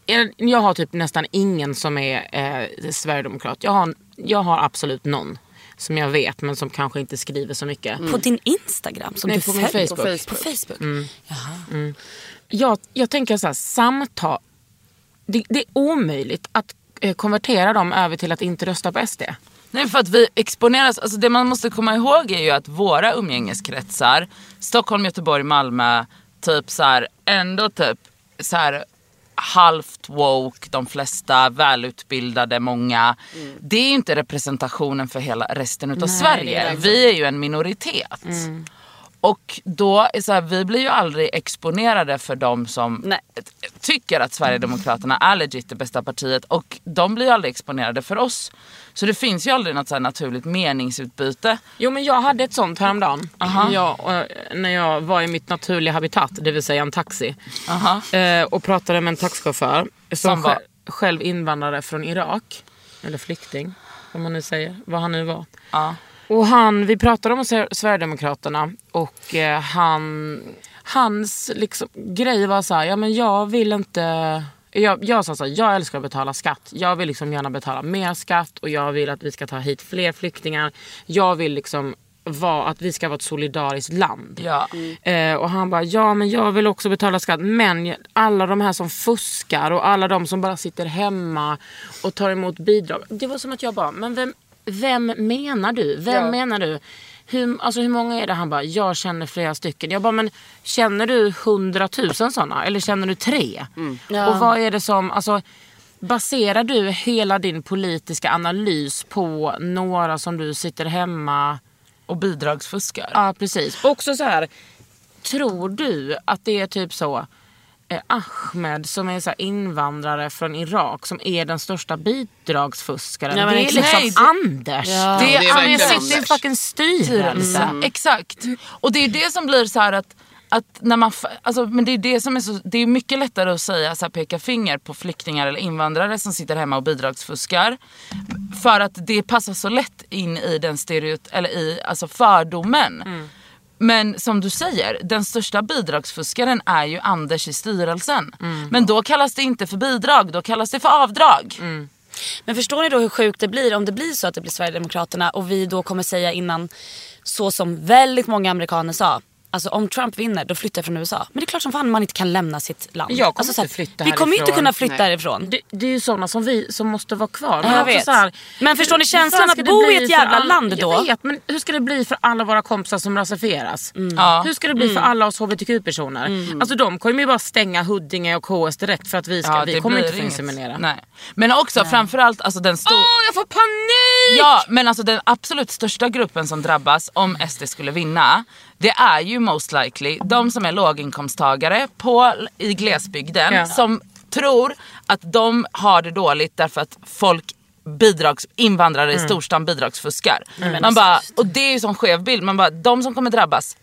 är- jag har typ nästan ingen som är eh, sverigedemokrat. Jag har, jag har absolut någon som jag vet men som kanske inte skriver så mycket. På din Instagram som Nej, du på min följer? Facebook. På Facebook. Jag, jag tänker så här, samtal, det, det är omöjligt att eh, konvertera dem över till att inte rösta på SD. Nej, för att vi exponeras. Alltså det man måste komma ihåg är ju att våra umgängeskretsar, Stockholm, Göteborg, Malmö, typ så här, ändå typ så här halvt woke, de flesta välutbildade, många. Det är ju inte representationen för hela resten utav Sverige. Vi är Mm. ju en minoritet. Och då, är så här, vi blir ju aldrig exponerade för de som Nej. t- tycker att Sverigedemokraterna är legit det bästa partiet och de blir ju aldrig exponerade för oss. Så det finns ju aldrig något så här naturligt meningsutbyte. Jo men jag hade ett sånt häromdagen. Jag, eh, när jag var i mitt naturliga habitat, det vill säga en taxi. Aha. Eh, och pratade med en taxichaufför som, Som var- sj- själv invandrare från Irak. Eller flykting, vad man nu säger. Vad han nu var. Ja. Och han, vi pratade om Sver- Sverigedemokraterna och eh, han, hans liksom, grej var så här, ja men jag vill inte... Jag, jag sa så här, jag älskar att betala skatt. Jag vill liksom gärna betala mer skatt och jag vill att vi ska ta hit fler flyktingar. Jag vill liksom vara, att vi ska vara ett solidariskt land. Ja. Eh, och han bara, ja men jag vill också betala skatt. Men jag- alla de här som fuskar och alla de som bara sitter hemma och tar emot bidrag. Det var som att jag bara, men vem, vem menar du? Vem menar du? Hur, alltså hur många är det? Han bara, jag känner flera stycken. Jag bara, men känner du hundratusen sådana? Eller känner du tre? Och vad är det som, alltså baserar du hela din politiska analys på några som du sitter hemma Och bidragsfuskar. Ja, precis. Också så här, tror du att det är typ så eh, Ahmed som är så här invandrare från Irak som är den största bidragsfuskaren? Ja, men det är exakt. liksom Nej, det- Anders. Det är han är verkligen sitter i Anders. fucking styrelse. styrelse. Mm. Exakt. Och det är ju det som blir så här att, att när man, f- alltså, men det är det som är så, det är mycket lättare att säga så här, peka finger på flyktingar eller invandrare som sitter hemma och bidragsfuskar. För att det passar så lätt in i den stereot, eller i alltså fördomen. Men som du säger, den största bidragsfuskaren är ju Anders i styrelsen. Men då kallas det inte för bidrag, då kallas det för avdrag. Men förstår ni då hur sjukt det blir om det blir så att det blir Sverigedemokraterna och vi då kommer säga innan så som väldigt många amerikaner sa. Alltså om Trump vinner då flyttar jag från USA. Men det är klart som fan man inte kan lämna sitt land. Jag kommer alltså, så här, inte flytta Vi kommer ju inte härifrån. kunna flytta Nej. härifrån. Det, det är ju sådana som vi som måste vara kvar. Ja, jag också vet. så här, Men förstår ni hur känslan fan att ska bo det i bli ett för jävla alla- land då? Jag vet, men hur ska det bli för alla våra kompisar som rasifieras? Ja. Hur ska det bli för alla oss hbtq-personer? Alltså de kommer ju bara stänga Huddinge och KS direkt för att vi, ska, Ja, vi det kommer blir inte få inget. inseminera. Åh, Nej. Men också framförallt alltså den stora... jag får panik! Ja, men alltså den absolut största gruppen som drabbas om SD skulle vinna, det är ju most likely de som är låginkomsttagare på, i glesbygden Ja. som tror att de har det dåligt därför att folk bidrags, invandrare Mm. i storstan bidragsfuskar. Man bara, alltså- och det är ju som skev bild, man bara, de som kommer drabbas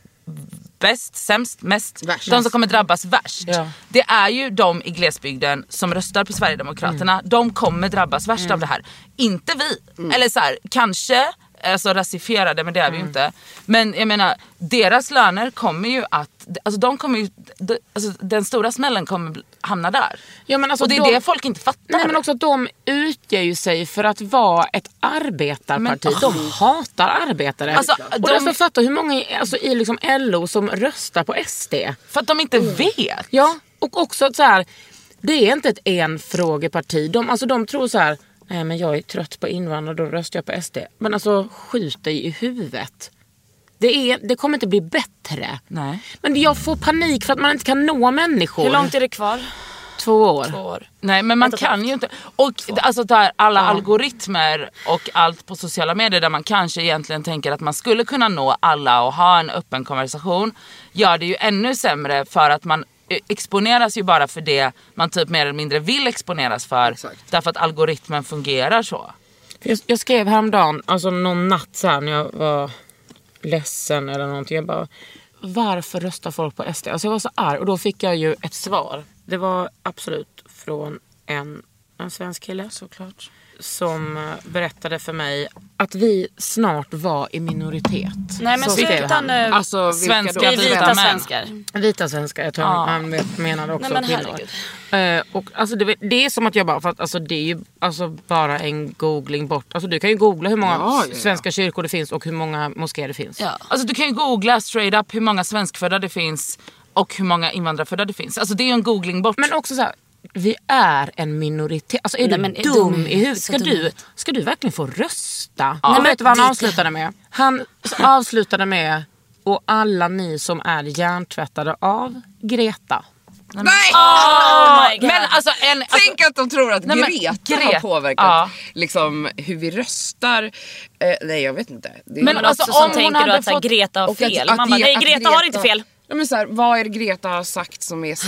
bäst, sämst, mest. Värst. De som kommer drabbas värst. Ja. Det är ju de i glesbygden som röstar på Sverigedemokraterna. Mm. De kommer drabbas värst av det här. Inte vi. Eller så här, kanske alltså rasifierade men det är vi ju Mm. inte. Men jag menar deras löner kommer ju att, alltså de kommer ju, de, alltså den stora smällen kommer bli- hamna där. Ja, men alltså och det är de- det folk inte fattar. Nej men också att de utger ju sig för att vara ett arbetarparti. Men, de hatar arbetare. Alltså, och de- de... alltså fatta hur många i- alltså, i liksom LO som röstar på SD. För att de inte Mm. vet. Ja, och också att så här, det är inte ett enfrågeparti. De, alltså, de tror så här, nej men jag är trött på invandrare då röstar jag på SD. Men alltså skjut dig i huvudet. Det, är, det kommer inte bli bättre. Nej. Men jag får panik för att man inte kan nå människor. Hur långt är det kvar? Två år. Två år. Nej men man kan ju inte. Och alltså det här, alla algoritmer och allt på sociala medier där man kanske egentligen tänker att man skulle kunna nå alla och ha en öppen konversation. Gör det ju ännu sämre för att man eh, exponeras ju bara för det man typ mer eller mindre vill exponeras för. Exakt. Därför att algoritmen fungerar så. För Jag, jag skrev häromdagen, alltså någon natt så här, när jag var ledsen eller någonting. Jag bara, varför röstar folk på SD? Alltså jag var så arg och då fick jag ju ett svar. Det var absolut från en, en svensk kille såklart. Som eh, berättade för mig att vi snart var i minoritet. Nej men Så skrev sluta han. nu. Alltså, Svenska Vi är vita vita män. svenskar. Vita svenskar, jag tror han vet- menade också Nej, men kvinnor. Eh, och alltså det, det är som att jag bara, för att, alltså det är ju alltså bara en googling bort. Alltså du kan ju googla hur många Ja, ja, ja. svenska kyrkor det finns och hur många moskéer det finns. Ja. Alltså du kan ju googla straight up hur många svenskfödda det finns och hur många invandrarfödda det finns. Alltså det är ju en googling bort. Men också så här, vi är en minoritet. Alltså är Nej, du men är dum, dum. i huvudet? Ska Så dum. du, ska du verkligen få rösta? Nej, vet du vad han avslutade med? Han avslutade med, och alla ni som är hjärntvättade av Greta. Oh my God. men alltså en... Alltså, Tänk att de tror att Ah! Nej, men Greta, Greta- har påverkat ja. liksom, hur vi röstar. Eh, nej jag vet inte. Det är- Men Men alltså, också som om hon tänker då hade att så här, fått- Greta har och att- fel. att Man bara, Gre- nej att Greta har inte fel. Ja, men så här, vad är det Greta har sagt som är så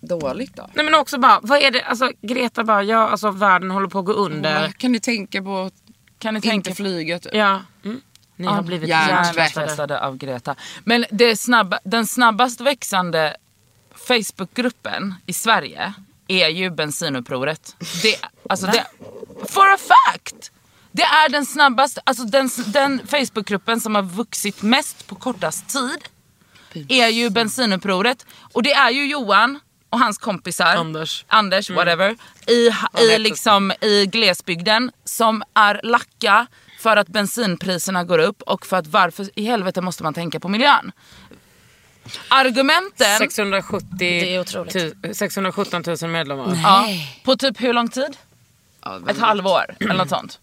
dåligt då? Nej men också bara, vad är det, alltså Greta bara, ja alltså världen håller på att gå under. Kan ni tänka på kan ni att tänka inte flyga typ? Ja. Ni har blivit hjärntvättade. hjärntvättade av Greta. Men det snabba, den snabbast växande Facebookgruppen i Sverige är ju bensinupproret. Det, alltså det, for a fact! Det är den snabbaste, alltså den, den Facebookgruppen som har vuxit mest på kortast tid är ju bensinupproret. Och det är ju Johan och hans kompisar. Anders. Anders, Mm. whatever. I, i, liksom, I glesbygden som är lacka för att bensinpriserna går upp och för att varför i helvete måste man tänka på miljön? Argumenten 670 tu- 617 000 medlemmar. ja, på typ hur lång tid? Ett halvår eller något sånt.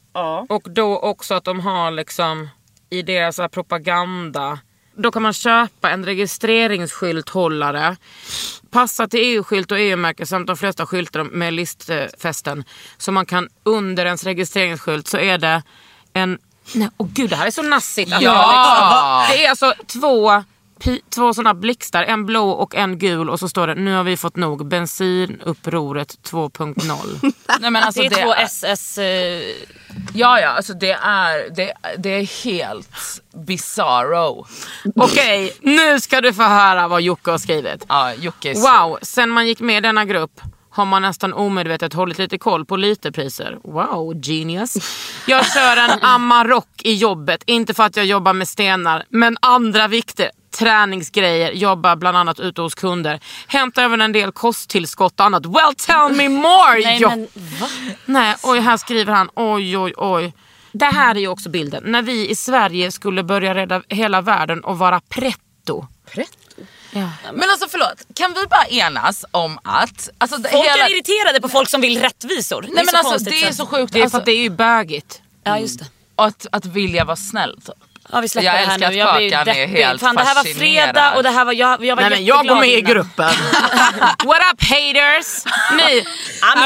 Och då också att de har liksom i deras så här propaganda. Då kan man köpa en registreringsskylthållare. Passa till EU-skylt och EU-märke samt de flesta skyltar med listfästen. Så man kan under ens registreringsskylt så är det en... Nej, åh gud det här är så nassigt. att Ja! jag Liksom, det är alltså två, pi- två sådana blixtar. En blå och en gul och så står det nu har vi fått nog bensinupproret 2.0. Nej, men alltså, Det är två är- SS... eh, Ja, ja, alltså det är, det, det är helt bizarro. Okej, nu ska du få höra vad Jocke har skrivit. Ja, Jocke är sur. Wow, sen man gick med i denna grupp har man nästan omedvetet hållit lite koll på literpriser. Wow, genius. Jag kör en Amarok i jobbet, inte för att jag jobbar med stenar, men andra vikter. Träningsgrejer, jobbar bland annat ute hos kunder. Hämtar även en del kosttillskott och annat. Well tell me more! Nej ja. men va? Nej, oj här skriver han oj oj oj. Det här är ju också bilden. När vi i Sverige skulle börja rädda hela världen och vara pretto. Men alltså förlåt, kan vi bara enas om att... Alltså, det- Folk hela- är irriterade på folk som vill rättvisor. Nej men alltså konstigt, det är så- så sjukt Det är alltså, för att det är ju bögigt. Ja just det. att, att vilja vara snäll. Typ. Ja, vi släpper Jag det här älskar nu. att Jag blir ju Kakan är deppig. helt Fan, det här var fredag fascinerad. och det här var, jag, jag var Nej men jag går jätteglad med i innan. gruppen. What up haters! Ni, I'm Här var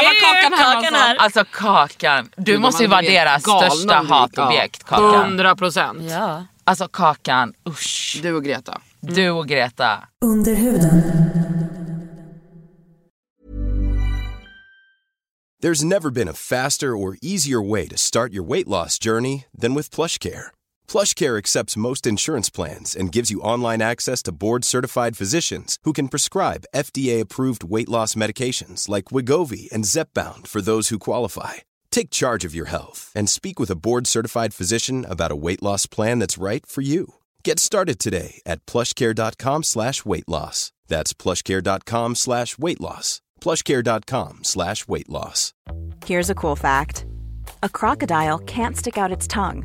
Kakan here, kakan Hermansson. här. Alltså Kakan, du de måste ju vara andra är deras galna största om det gick. hatobjekt Kakan. 100 procent. Ja. Alltså Kakan, usch. Du och Greta. Du och Greta. Under huden. There's never been a faster or easier way to start your weight loss journey than with PlushCare. PlushCare accepts most insurance plans and gives you online access to board-certified physicians who can prescribe FDA-approved weight loss medications like Wigovi and Zepbound for those who qualify. Take charge of your health and speak with a board-certified physician about a weight loss plan that's right for you. Get started today at plushcare.com slash weight loss. That's plushcare.com slash weight loss. plushcare.com slash weight loss. Here's a cool fact a crocodile can't stick out its tongue.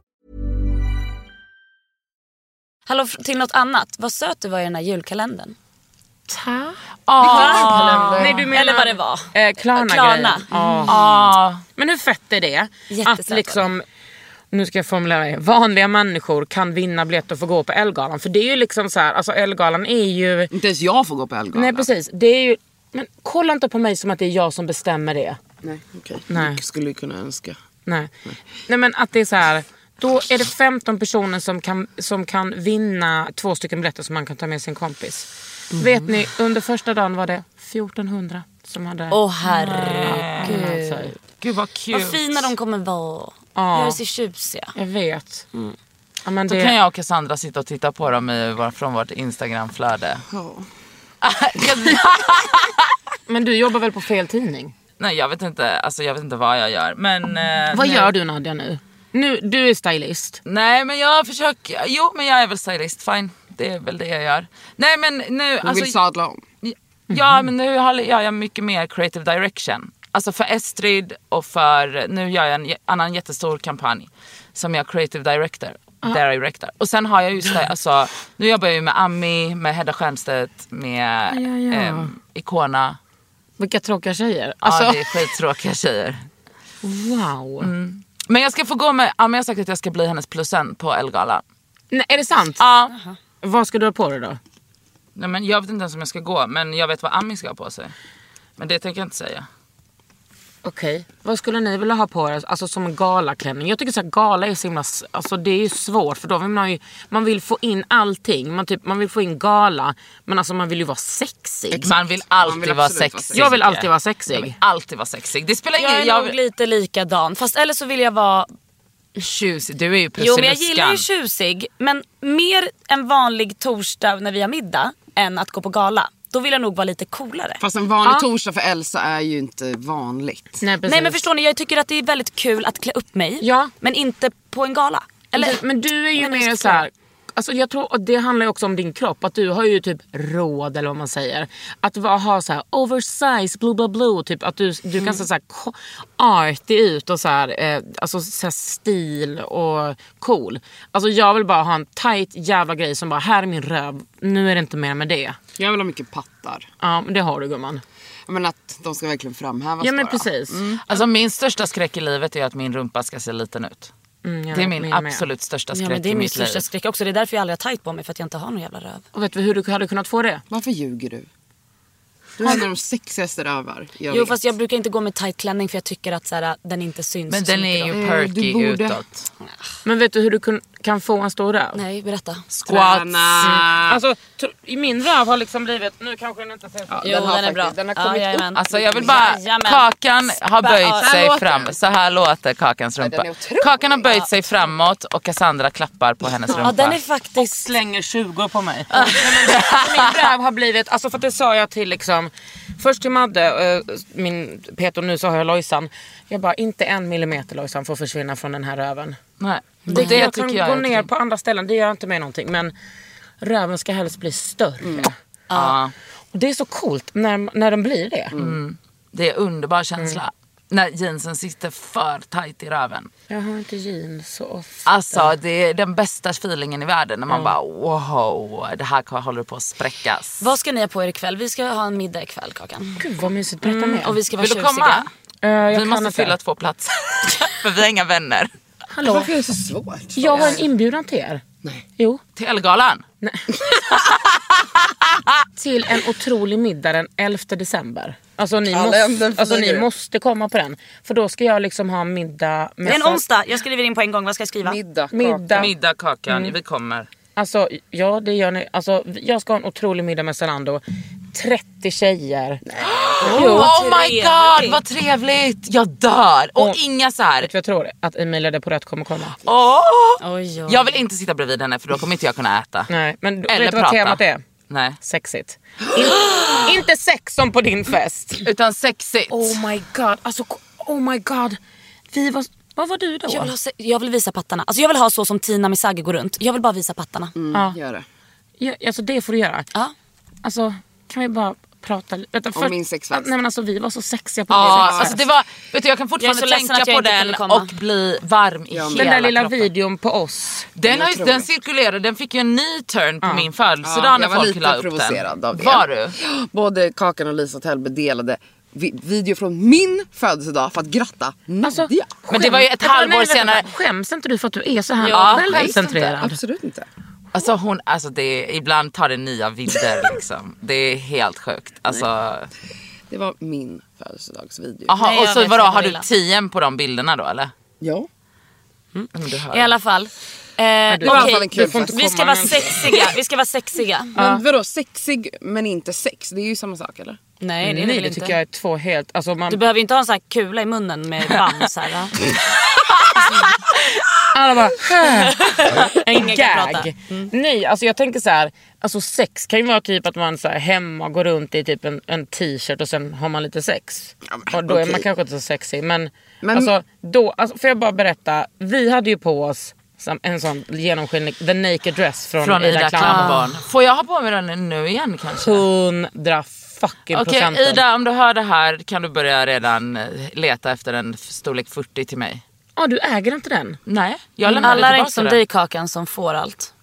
Hallå, f- till något annat. Vad söt du var i den här julkalendern. Ah. Nej, du menar, Eller vad det var. Eh, Klarna. Klarna. Klarna. Men hur fett är det? Att Jättesöt var liksom, nu ska jag formulera mig. Vanliga människor kan vinna biljett och få gå på Ellegalan. För det är ju liksom så här, alltså Ellegalan är ju... Inte ens jag får gå på helgon. Nej precis, det är ju... Men kolla inte på mig som att det är jag som bestämmer det. Nej, okej. Nej. Du skulle kunna önska. Nej. Nej men att det är så här. Då är det 15 personer som kan, som kan vinna två stycken biljetter som man kan ta med sin kompis. Vet ni, under första dagen var det 1400 som hade... Åh herregud. Alltså, Gud vad kul. Vad fina de kommer vara. Ja. Gör sig tjusiga. jag vet. Ja, men Då det- kan jag och Cassandra sitta och titta på dem i vår, från vårt instagramflöde. Men du jobbar väl på fel tidning? Nej jag vet inte, alltså jag vet inte vad jag gör. Men, eh, Vad nej. gör du Nadja nu? nu? Du är stylist. Nej men jag försöker, jo men jag är väl stylist, fine. Det är väl det jag gör. Nej men nu, alltså, Hon vill sadla om. Mhm. Ja men nu har- gör jag mycket mer creative direction. Alltså för Estrid och för, nu gör jag en j- annan jättestor kampanj som jag creative director. director. Och sen har jag just det, alltså, nu jobbar jag ju med Ami, med Hedda Stiernstedt, med Ja, ja, ja. ehm, Icona. Vilka tråkiga tjejer. Ja Alltså, det är skittråkiga tjejer. wow. Men jag ska få gå med, Ami har sagt att jag ska bli hennes plus en på Ellegalan. Nej, är det sant? Ja. Vad ska du ha på dig då? Nej, men jag vet inte ens om jag ska gå men jag vet vad Ami ska ha på sig. Men det tänker jag inte säga. Okej, vad skulle ni vilja ha på er? Alltså som en galaklänning. Jag tycker så här, gala är så himla, s- alltså det är ju svårt för då vill man ju, man vill få in allting. Man, typ, man vill få in gala, men alltså man vill ju vara sexig. Man vill alltid Man vill vara absolut vara sexig. sexig. Jag vill alltid vara Jag vill sexig. alltid vara sexig. Det spelar Jag ingen är jag nog vill- lite likadan. Fast eller så vill jag vara... Tjusig, du är ju Jo men jag Prussiluskan. gillar ju tjusig. Men mer en vanlig torsdag när vi har middag än att gå på gala. Då vill jag nog vara lite coolare. Fast en vanlig torsdag för Elsa är ju inte vanligt. Nej, precis. Nej men förstår ni, jag tycker att det är väldigt kul att klä upp mig. Ja. Men inte på en gala. Eller? Du- men du är ju Men det är mer så så här. Alltså jag tror, och det handlar ju också om din kropp, att du har ju typ råd eller vad man säger. Att va- ha så här oversize, blue blue blue, typ att du, du kan se så här ko- artig ut och så här, eh, alltså så här stil och cool. Alltså jag vill bara ha en tight jävla grej som bara, här är min röv, nu är det inte mer med det. Jag vill ha mycket pattar. Ja men det har du gumman. Men att de ska verkligen framhävas Ja men bara. precis. Alltså min största skräck i livet är att min rumpa ska se liten ut. Mm, jag det är vet, min men jag med. absolut största skräck Ja, men det är i min mitt största liv. skräck också. Det är därför jag aldrig har tight på mig för att jag inte har någon jävla röv. Och vet du hur du hade kunnat få det? Varför ljuger du? Du är en av de sexigaste rövar jag Jo vet. fast jag brukar inte gå med tight klänning för jag tycker att så här, den inte syns. Men så den mycket är då. ju perky du borde- utåt. Men vet du hur du kun, kan få en stor röv? Nej berätta. Squats. Alltså, tr- i min röv har liksom blivit... Nu kanske den inte ser så... Jo, den, har är bra. faktiskt- den har Ja, kommit upp. jajamän. Alltså jag vill bara, Jajamän. kakan har Ja. böjt Så här sig låter fram. den. Så här låter kakans rumpa. den är otrolig. Kakan har böjt sig framåt och Cassandra klappar på hennes rumpa. Ja den är faktiskt... slänger 20 på mig. Nej, men min röv har blivit, alltså för att det sa jag till liksom, först till Madde, eh, min Peter och nu så har jag Lojsan. Jag bara, inte en millimeter Lojsan får försvinna från den här röven. Nej. Det, Det, jag tycker kan jag gå är okej. ner på andra ställen, det gör inte mig någonting. Men röven ska helst bli större. Ja. Och det är så coolt när, när den blir det. Det är en underbar känsla. När jeansen sitter för tight i röven. Jag har inte jeans så ofta. Alltså det är den bästa feelingen i världen när man bara wow, det här håller på att spräckas. Vad ska ni ha på er ikväll? Vi ska ha en middag ikväll Kakan. Gud vad mysigt, berätta mer. Mm, Och vi ska vara Vill du tjusiga. komma? Eh, jag Vi kan måste inte. fylla två platser. För vi har inga vänner. Hallå, Varför är det så svårt? jag har en inbjudan till er. Nej. Jo. Till Ellegalan. till en otrolig middag den 11 december. Alltså ni, Alla änden måste, alltså, flyger. ni måste komma på den. För då ska jag liksom ha middag Det med... är en onsdag, jag skriver in på en gång. Vad ska jag skriva? Middag. Middag. Middag Kakan, vi kommer. Alltså ja det gör ni. Alltså, jag ska ha en otrolig middag med Zalando. 30 tjejer. Oh, my god vad trevligt, jag dör. Och Och- inga så här. Vet du vad jag tror? Att Emilia de Porrette kommer komma. Åh! Oj, oj. Jag vill inte sitta bredvid henne för då kommer inte jag kunna äta. Nej men Eller vet du vad prata. temat är? Nej. Sexigt. In, inte sex som på din fest. Utan sexigt. Oh my god. Alltså oh my god. Vi var... Vad var du då? Jag vill, ha, se- jag vill visa pattarna. Alltså jag vill ha så som Tina Misagi går runt. Jag vill bara visa pattarna. Ja. Gör det. Ja, alltså det får du göra. Ja. Alltså kan vi bara prata lite? Vänta, Om min sexfest. Nej men alltså vi var så sexiga på Ja, min sexfest. alltså det var, vet du, jag kan fortfarande Jag är så ledsen tänka att jag på inte den kunde komma. och bli varm i hela Den där lilla kroppen. videon på oss. Den, har, ju- otrolig. den cirkulerade, den fick ju en ny turn på min födelsedag Ja, när jag var folk la lite upp provocerad den. av det. Var du? Både Kakan och Lisa Tellberg delade vi- video från min födelsedag för att gratta Nadja. Alltså, Men det var ju ett Vänta, halvår nej, vänta, senare. vänta. Skäms inte du för att du är så här Ja, självcentrerad? Absolut inte. Alltså hon, alltså det, är- ibland tar det nya vidder liksom. Det är helt sjukt. Alltså, Det var min födelsedagsvideo. aha, Nej, och jag så vet, vadå, jag har var du illa. 10 på de bilderna då eller? Ja. Om du hör. I alla fall. Eh, Det var i alla okej. fall en kul får inte fest. Vi ska vara sexiga. Vi ska vara sexiga. Men vadå sexig men inte sex? Det är ju samma sak eller? Nej det är det Nej väl det inte. tycker jag är två helt... Alltså, man, Du behöver ju inte ha en sån här kula i munnen med band så här. va? alla bara... "Äh, en Ingen kan prata. gag. Mm. Nej alltså jag tänker så här. Alltså sex kan ju vara typ att man så här, hemma går runt i typ en, en t-shirt och sen har man lite sex. Ja, men och då är man okej. kanske inte så sexig men, Men- alltså då, alltså, får jag bara berätta. Vi hade ju på oss som- en sån genomskinlig, the naked dress från, Från Ida Klammerbarn. Klammerbarn. Får jag ha på mig den nu igen kanske? Hundra fucking Okej procenten. Ida, om du hör det här kan du börja redan eh, leta efter en f- storlek 40 till mig. Mm. Ja, du äger inte den. Nej, jag lämnar Alla är tillbaka inte som den. dig Kakan som får allt.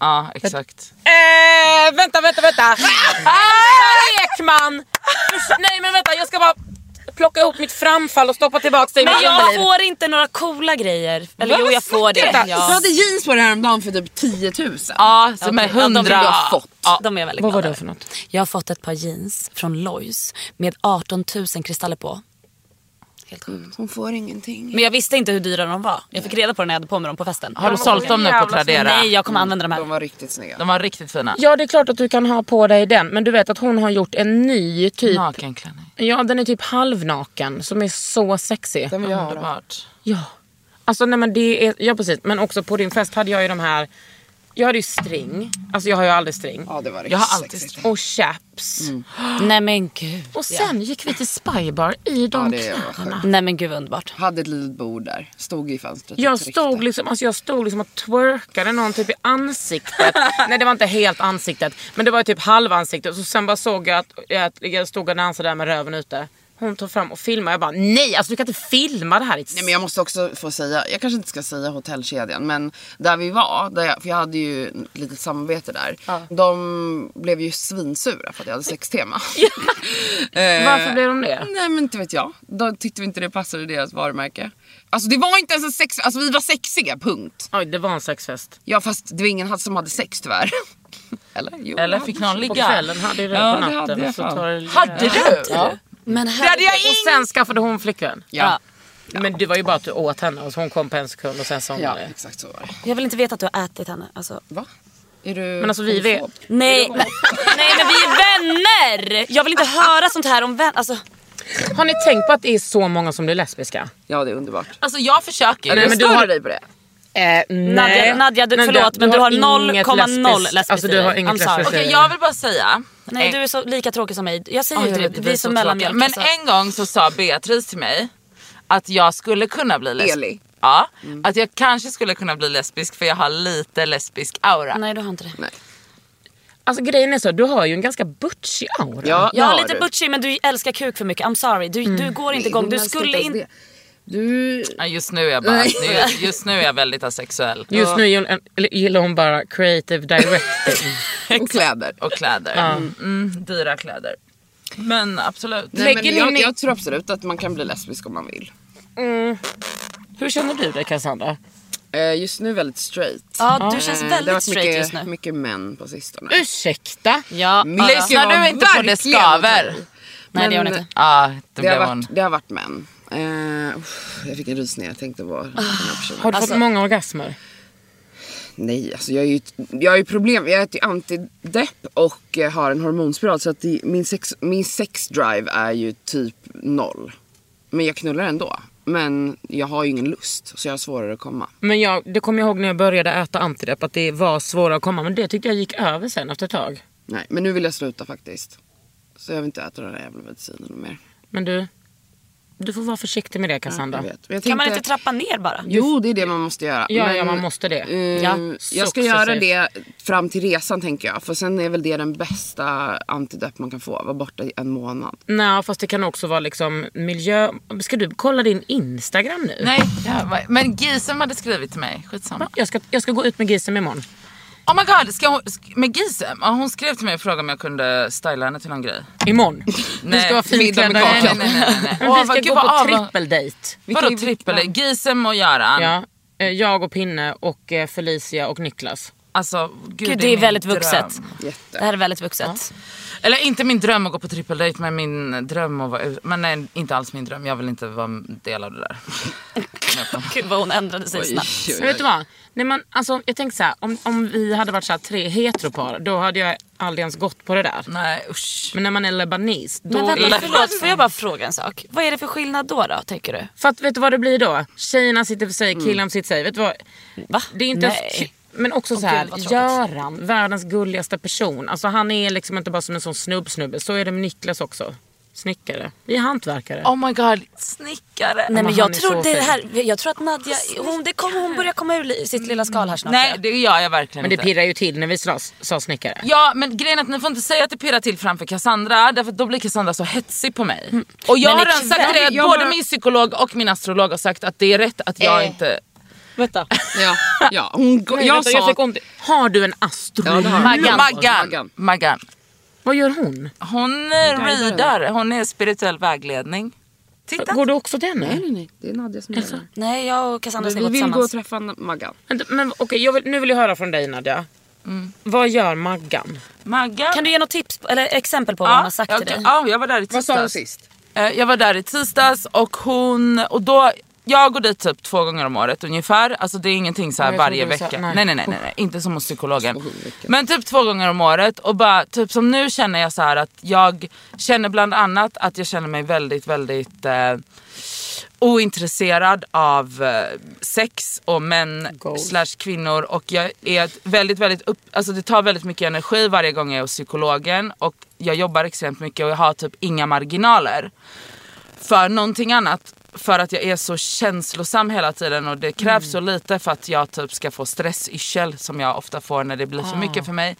Ja, exakt. Eh, vänta, vänta, vänta. Ah, Ekman! Usch, Nej men vänta, jag ska bara plocka ihop mitt framfall och stoppa tillbaka det i Men mitt jag underliv. får inte några coola grejer. Eller Vad jo jag får det. snackar du? Du Ja. hade jeans på dig häromdagen för typ 10 000. Ja, som är Okej, ja, de vill hundra. jag ha fått. Ja. De är jag väldigt Vad var det glada över. för något? Jag har fått ett par jeans från Lois med 18 000 kristaller på. Helt sjukt. Hon får ingenting. Mm. Men jag visste inte hur dyra de var. Jag fick reda på det när jag hade på mig dem på festen. Har du sålt dem nu på Tradera? Nej, jag kommer använda de De här. var riktigt snygga. De var riktigt fina. Ja det är klart att du kan ha på dig den men du vet att hon har gjort en ny typ, Nakenklänning. ja den är typ halvnaken som är så sexig. Den vill jag ha. då. Underbart. Ja. Alltså nej men det är, ja precis men också på din fest hade jag ju de här, jag hade ju string, alltså jag har ju aldrig string. Ja det var riktigt Jag har alltid sexigt. Mm. Och chaps. Nej men gud. Och sen gick vi till Spybar i de Ja, det var kläderna. skönt. Nej men gud vad underbart. Hade ett litet bord där. Stod i fönstret. och Jag tryckte. stod, liksom, alltså jag stod liksom och twerkade någon typ i ansiktet. Nej det var inte helt ansiktet. Men det var ju typ halva ansiktet. Så sen bara såg jag att jag, att jag stod och dansade där med röven ute. Hon tog fram och filmade. Jag bara nej alltså du kan inte filma det här. Nej, men jag måste också få säga, jag kanske inte ska säga hotellkedjan men där vi var, där jag, för jag hade ju ett litet samarbete där. De blev ju svinsura för att jag hade sextema. Eh, Varför blev de det? Nej men inte vet jag. De tyckte vi inte det passade deras varumärke. Alltså det var inte ens en sex, alltså vi var sexiga punkt. Oj det var en sexfest. Ja fast det var ingen som hade sex tyvärr. Eller? Jo, Eller jag fick hade- någon På ligga? kvällen hade du det Ja, på det hade natten. jag så fan. tar det- Hade du? Ja. Men Det hade jag herregud. Och sen skaffade hon flickvän. Ja. Men det var ju bara att du åt henne och hon kom på en sekund och sen sa hon Ja, det. exakt så var det. Jag vill inte veta att du har ätit henne. Alltså. Va? Är du Men alltså, vi vet- homofob? Nej. Nej men vi är vänner! Jag vill inte höra sånt här om vänner. Alltså, Har ni tänkt på att det är så många som blir lesbiska? Ja, det är underbart. Alltså jag försöker ju. Nej, men du Stör har- dig på det? Eh, nej. Nadja- Nadja, du- Men förlåt, men du har inget 0,0 lesbiskt Alltså du i har dig. inget I'm sorry. lesbiskt i Okej dig. jag vill bara säga. Eh, nej en- du är så lika tråkig som mig. Jag säger Ja, ju jag det, vet, vi är så som tråkiga. mellanmjölk. Men alltså. en gång så sa Beatrice till mig att jag skulle kunna bli Eli. lesbisk. Ja, att jag kanske skulle kunna bli lesbisk för jag har lite lesbisk aura. Nej du har inte det. Alltså grejen är så, du har ju en ganska butchig aura. Ja, det Jag har är lite du. butchig men du älskar kuk för mycket. I'm sorry. Du, du går inte igång. Hon Du älskar skulle ens inte... det. Du... Ja, Just nu är jag bara, nu, just nu är jag väldigt asexuell. Just nu är hon en, eller gillar hon bara creative directing. Och kläder. Och kläder. Mm, dyra kläder. Men absolut. Nej, men Lägger ni jag, ner- jag tror absolut att man kan bli lesbisk om man vill. Hur känner du dig Cassandra? Eh, Just nu väldigt straight. Ja du känns Eh, det har väldigt varit straight mycket, just nu. mycket män på sistone. Ursäkta? Ja. Mycket Lyssnar har du inte på det verkligen skaver? varit- Nej det gör hon men- inte. Ja, det Det har, blev hon. varit, det har varit män. Eh, uff, jag fick en rysning när jag tänkte på den här Ah. Har personen. Alltså, du alltså- fått många orgasmer? Nej, alltså jag är ju jag har ju problem. Jag äter ju antidepp och eh, har en hormonspiral så att det, min, sex, min sexdrive är ju typ noll. Men jag knullar ändå. Men jag har ju ingen lust så jag har svårare att komma. Men jag, det kommer jag ihåg när jag började äta antidepp att det var svårare att komma men det tyckte jag gick över sen efter ett tag. Nej, men nu vill jag sluta faktiskt. Så jag vill inte äta den här jävla medicinen mer. Men du, du får vara försiktig med det Cassandra. Jag vet. Men jag Kan man tänkte- inte trappa ner bara? Jo, det är det man måste göra. Ja, ja, man måste det. eh, Ja, jag ska successivt. göra det fram till resan tänker jag. För sen är väl det den bästa antidepp man kan få. Vara borta i en månad. Nej fast det kan också vara liksom miljö... Ska du kolla din Instagram nu? Nej, jag var- men Gisem hade skrivit till mig. Skitsamma. Jag ska, jag ska gå ut med Gisem imorgon. Oh my god, ska hon, sk- med Gisem? Ja, hon skrev till mig och frågade om jag kunde styla henne till någon grej. Imorgon. Vi ska vara middag med finklädda. Nej, nej, kakan. nej. nej, nej. Men Åh, vi ska vad- gå vad på av- trippeldejt. Vadå trippel? Gisem och Göran. Ja, eh, jag och Pinne och eh, Felicia och Niklas. Alltså, gud, Gud det är min väldigt dröm. vuxet. Det Eh. Jätte. här är väldigt vuxet. Eller inte min dröm att gå på trippeldejt men min dröm att vara ut- Men nej, inte alls min dröm. Jag vill inte vara del av det där. Gud vad hon ändrade sig snabbt. Men vet du vad? Nej, men, alltså, jag tänker så här, om, om vi hade varit så här, tre heteropar då hade jag aldrig ens gått på det där. Nej usch. Men när man är lebanis då... Men vänta, är... förlåt, får jag bara fråga en sak? Vad är det för skillnad då, då tänker du? För att vet du vad det blir då? Tjejerna sitter för sig, killarna sitter för sig. Vet du vad? Va? Det är inte Nej. Men också så Åh, här, gud, vad tråkigt. Göran, världens gulligaste person. Alltså han är liksom inte bara som en sån snubbsnubbe. Så är det med Niklas också. Snickare. Vi är hantverkare. Oh my god, snickare. Nej, men men han jag är tror så det fin. här, jag tror att Nadja, hon, det kommer, hon börjar komma ur li- sitt lilla skal här snart. Nej det gör jag verkligen Men det inte. pirrar ju till när vi slåss, sa snickare. Ja men grejen är att ni får inte säga att det pirrar till framför Cassandra därför att då blir Cassandra så hetsig på mig. Och jag Men har ikväll- redan sagt det, Jag både bara- min psykolog och min astrolog har sagt att det är rätt att jag Eh. inte... Vänta. Ja, ja. Hon, Nej, jag vänta, sa... jag fick ont. i- Har du en astrolog? Ja, det har jag. Maggan. Maggan. Maggan. Maggan. Vad gör hon? Hon eh, readar, hon är spirituell vägläggning. Titta. Går du också till henne? Nej, nej, nej. Det är Nadja som gör det här. Nej, jag och Cassandra ska Vi gå vill gå och tillsammans. träffa Maggan. Vänta, Men, okej, jag vill, nu vill jag höra från dig Nadja. Vad gör Maggan? Maggan. Kan du ge något tips på- eller exempel på vad hon har sagt jag, till dig? Ja, jag var där i Vad tisdags. sa hon sist? Eh, Jag var där i tisdags och hon... Och då, jag går dit typ två gånger om året ungefär. Alltså det är ingenting så här Nej, jag varje trodde du vecka. sa- nej. nej. Nej, nej, nej, nej, inte som hos psykologen. Men typ två gånger om året och bara typ som nu känner jag så här att jag känner bland annat att jag känner mig väldigt, väldigt eh, ointresserad av eh, sex och män Goals. slash kvinnor och jag är ett väldigt, väldigt upp, alltså det tar väldigt mycket energi varje gång jag är hos psykologen och jag jobbar extremt mycket och jag har typ inga marginaler för någonting annat. För att jag är så känslosam hela tiden och det krävs så lite för att jag typ ska få stressyrsel som jag ofta får när det blir för mycket för mig.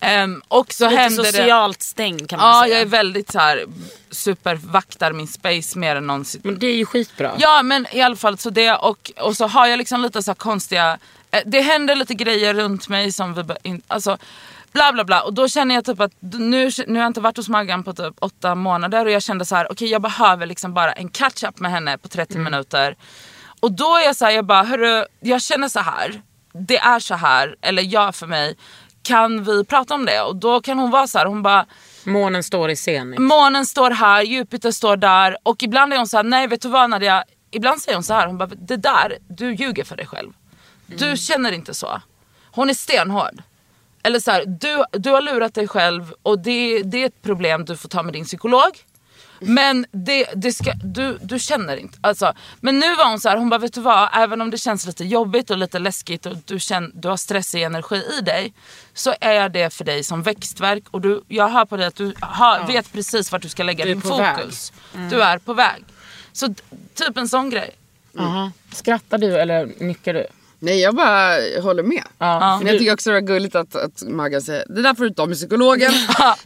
Ehm, och så Lite händer det... socialt stängd kan man Ja, jag säga. är väldigt så här supervaktar min space mer än någonsin. Men det är ju skitbra. Ja men i alla fall så det och, och så har jag liksom lite så här konstiga, eh, det händer lite grejer runt mig som vi, be- in, alltså bla bla bla och då känner jag typ att d- nu, nu har jag inte varit hos Maggan på typ åtta månader och jag kände så här okej jag behöver liksom bara en catch up med henne på 30 Mm. minuter. Och då är jag så här, jag bara hörru, jag känner så här, det är så här, eller jag för mig. kan vi prata om det? Och då kan hon vara så här, hon bara Månen står i scenen. Alltså, Månen står här, Jupiter står där och ibland är hon så här, nej vet du vad Nadia? Ibland säger hon så här, hon bara, det där, du ljuger för dig själv. Du känner inte så. Hon är stenhård. Eller så här, du, du har lurat dig själv och det, det är ett problem du får ta med din psykolog. Men det, det ska, du, du känner inte. Alltså, men nu var hon så här, hon bara vet du vad, även om det känns lite jobbigt och lite läskigt och du, känner, du har stressig energi i dig. Så är jag det för dig som växtverk och du, jag hör på dig att du har, vet precis vart du ska lägga Du är din på väg. fokus. Du är på väg. Så t- typ en sån grej. Aha. Skrattar du eller nickar du? Nej jag bara håller med. Ja. Men jag tycker också det var gulligt att, att Maggan säger det där får du ta med psykologen.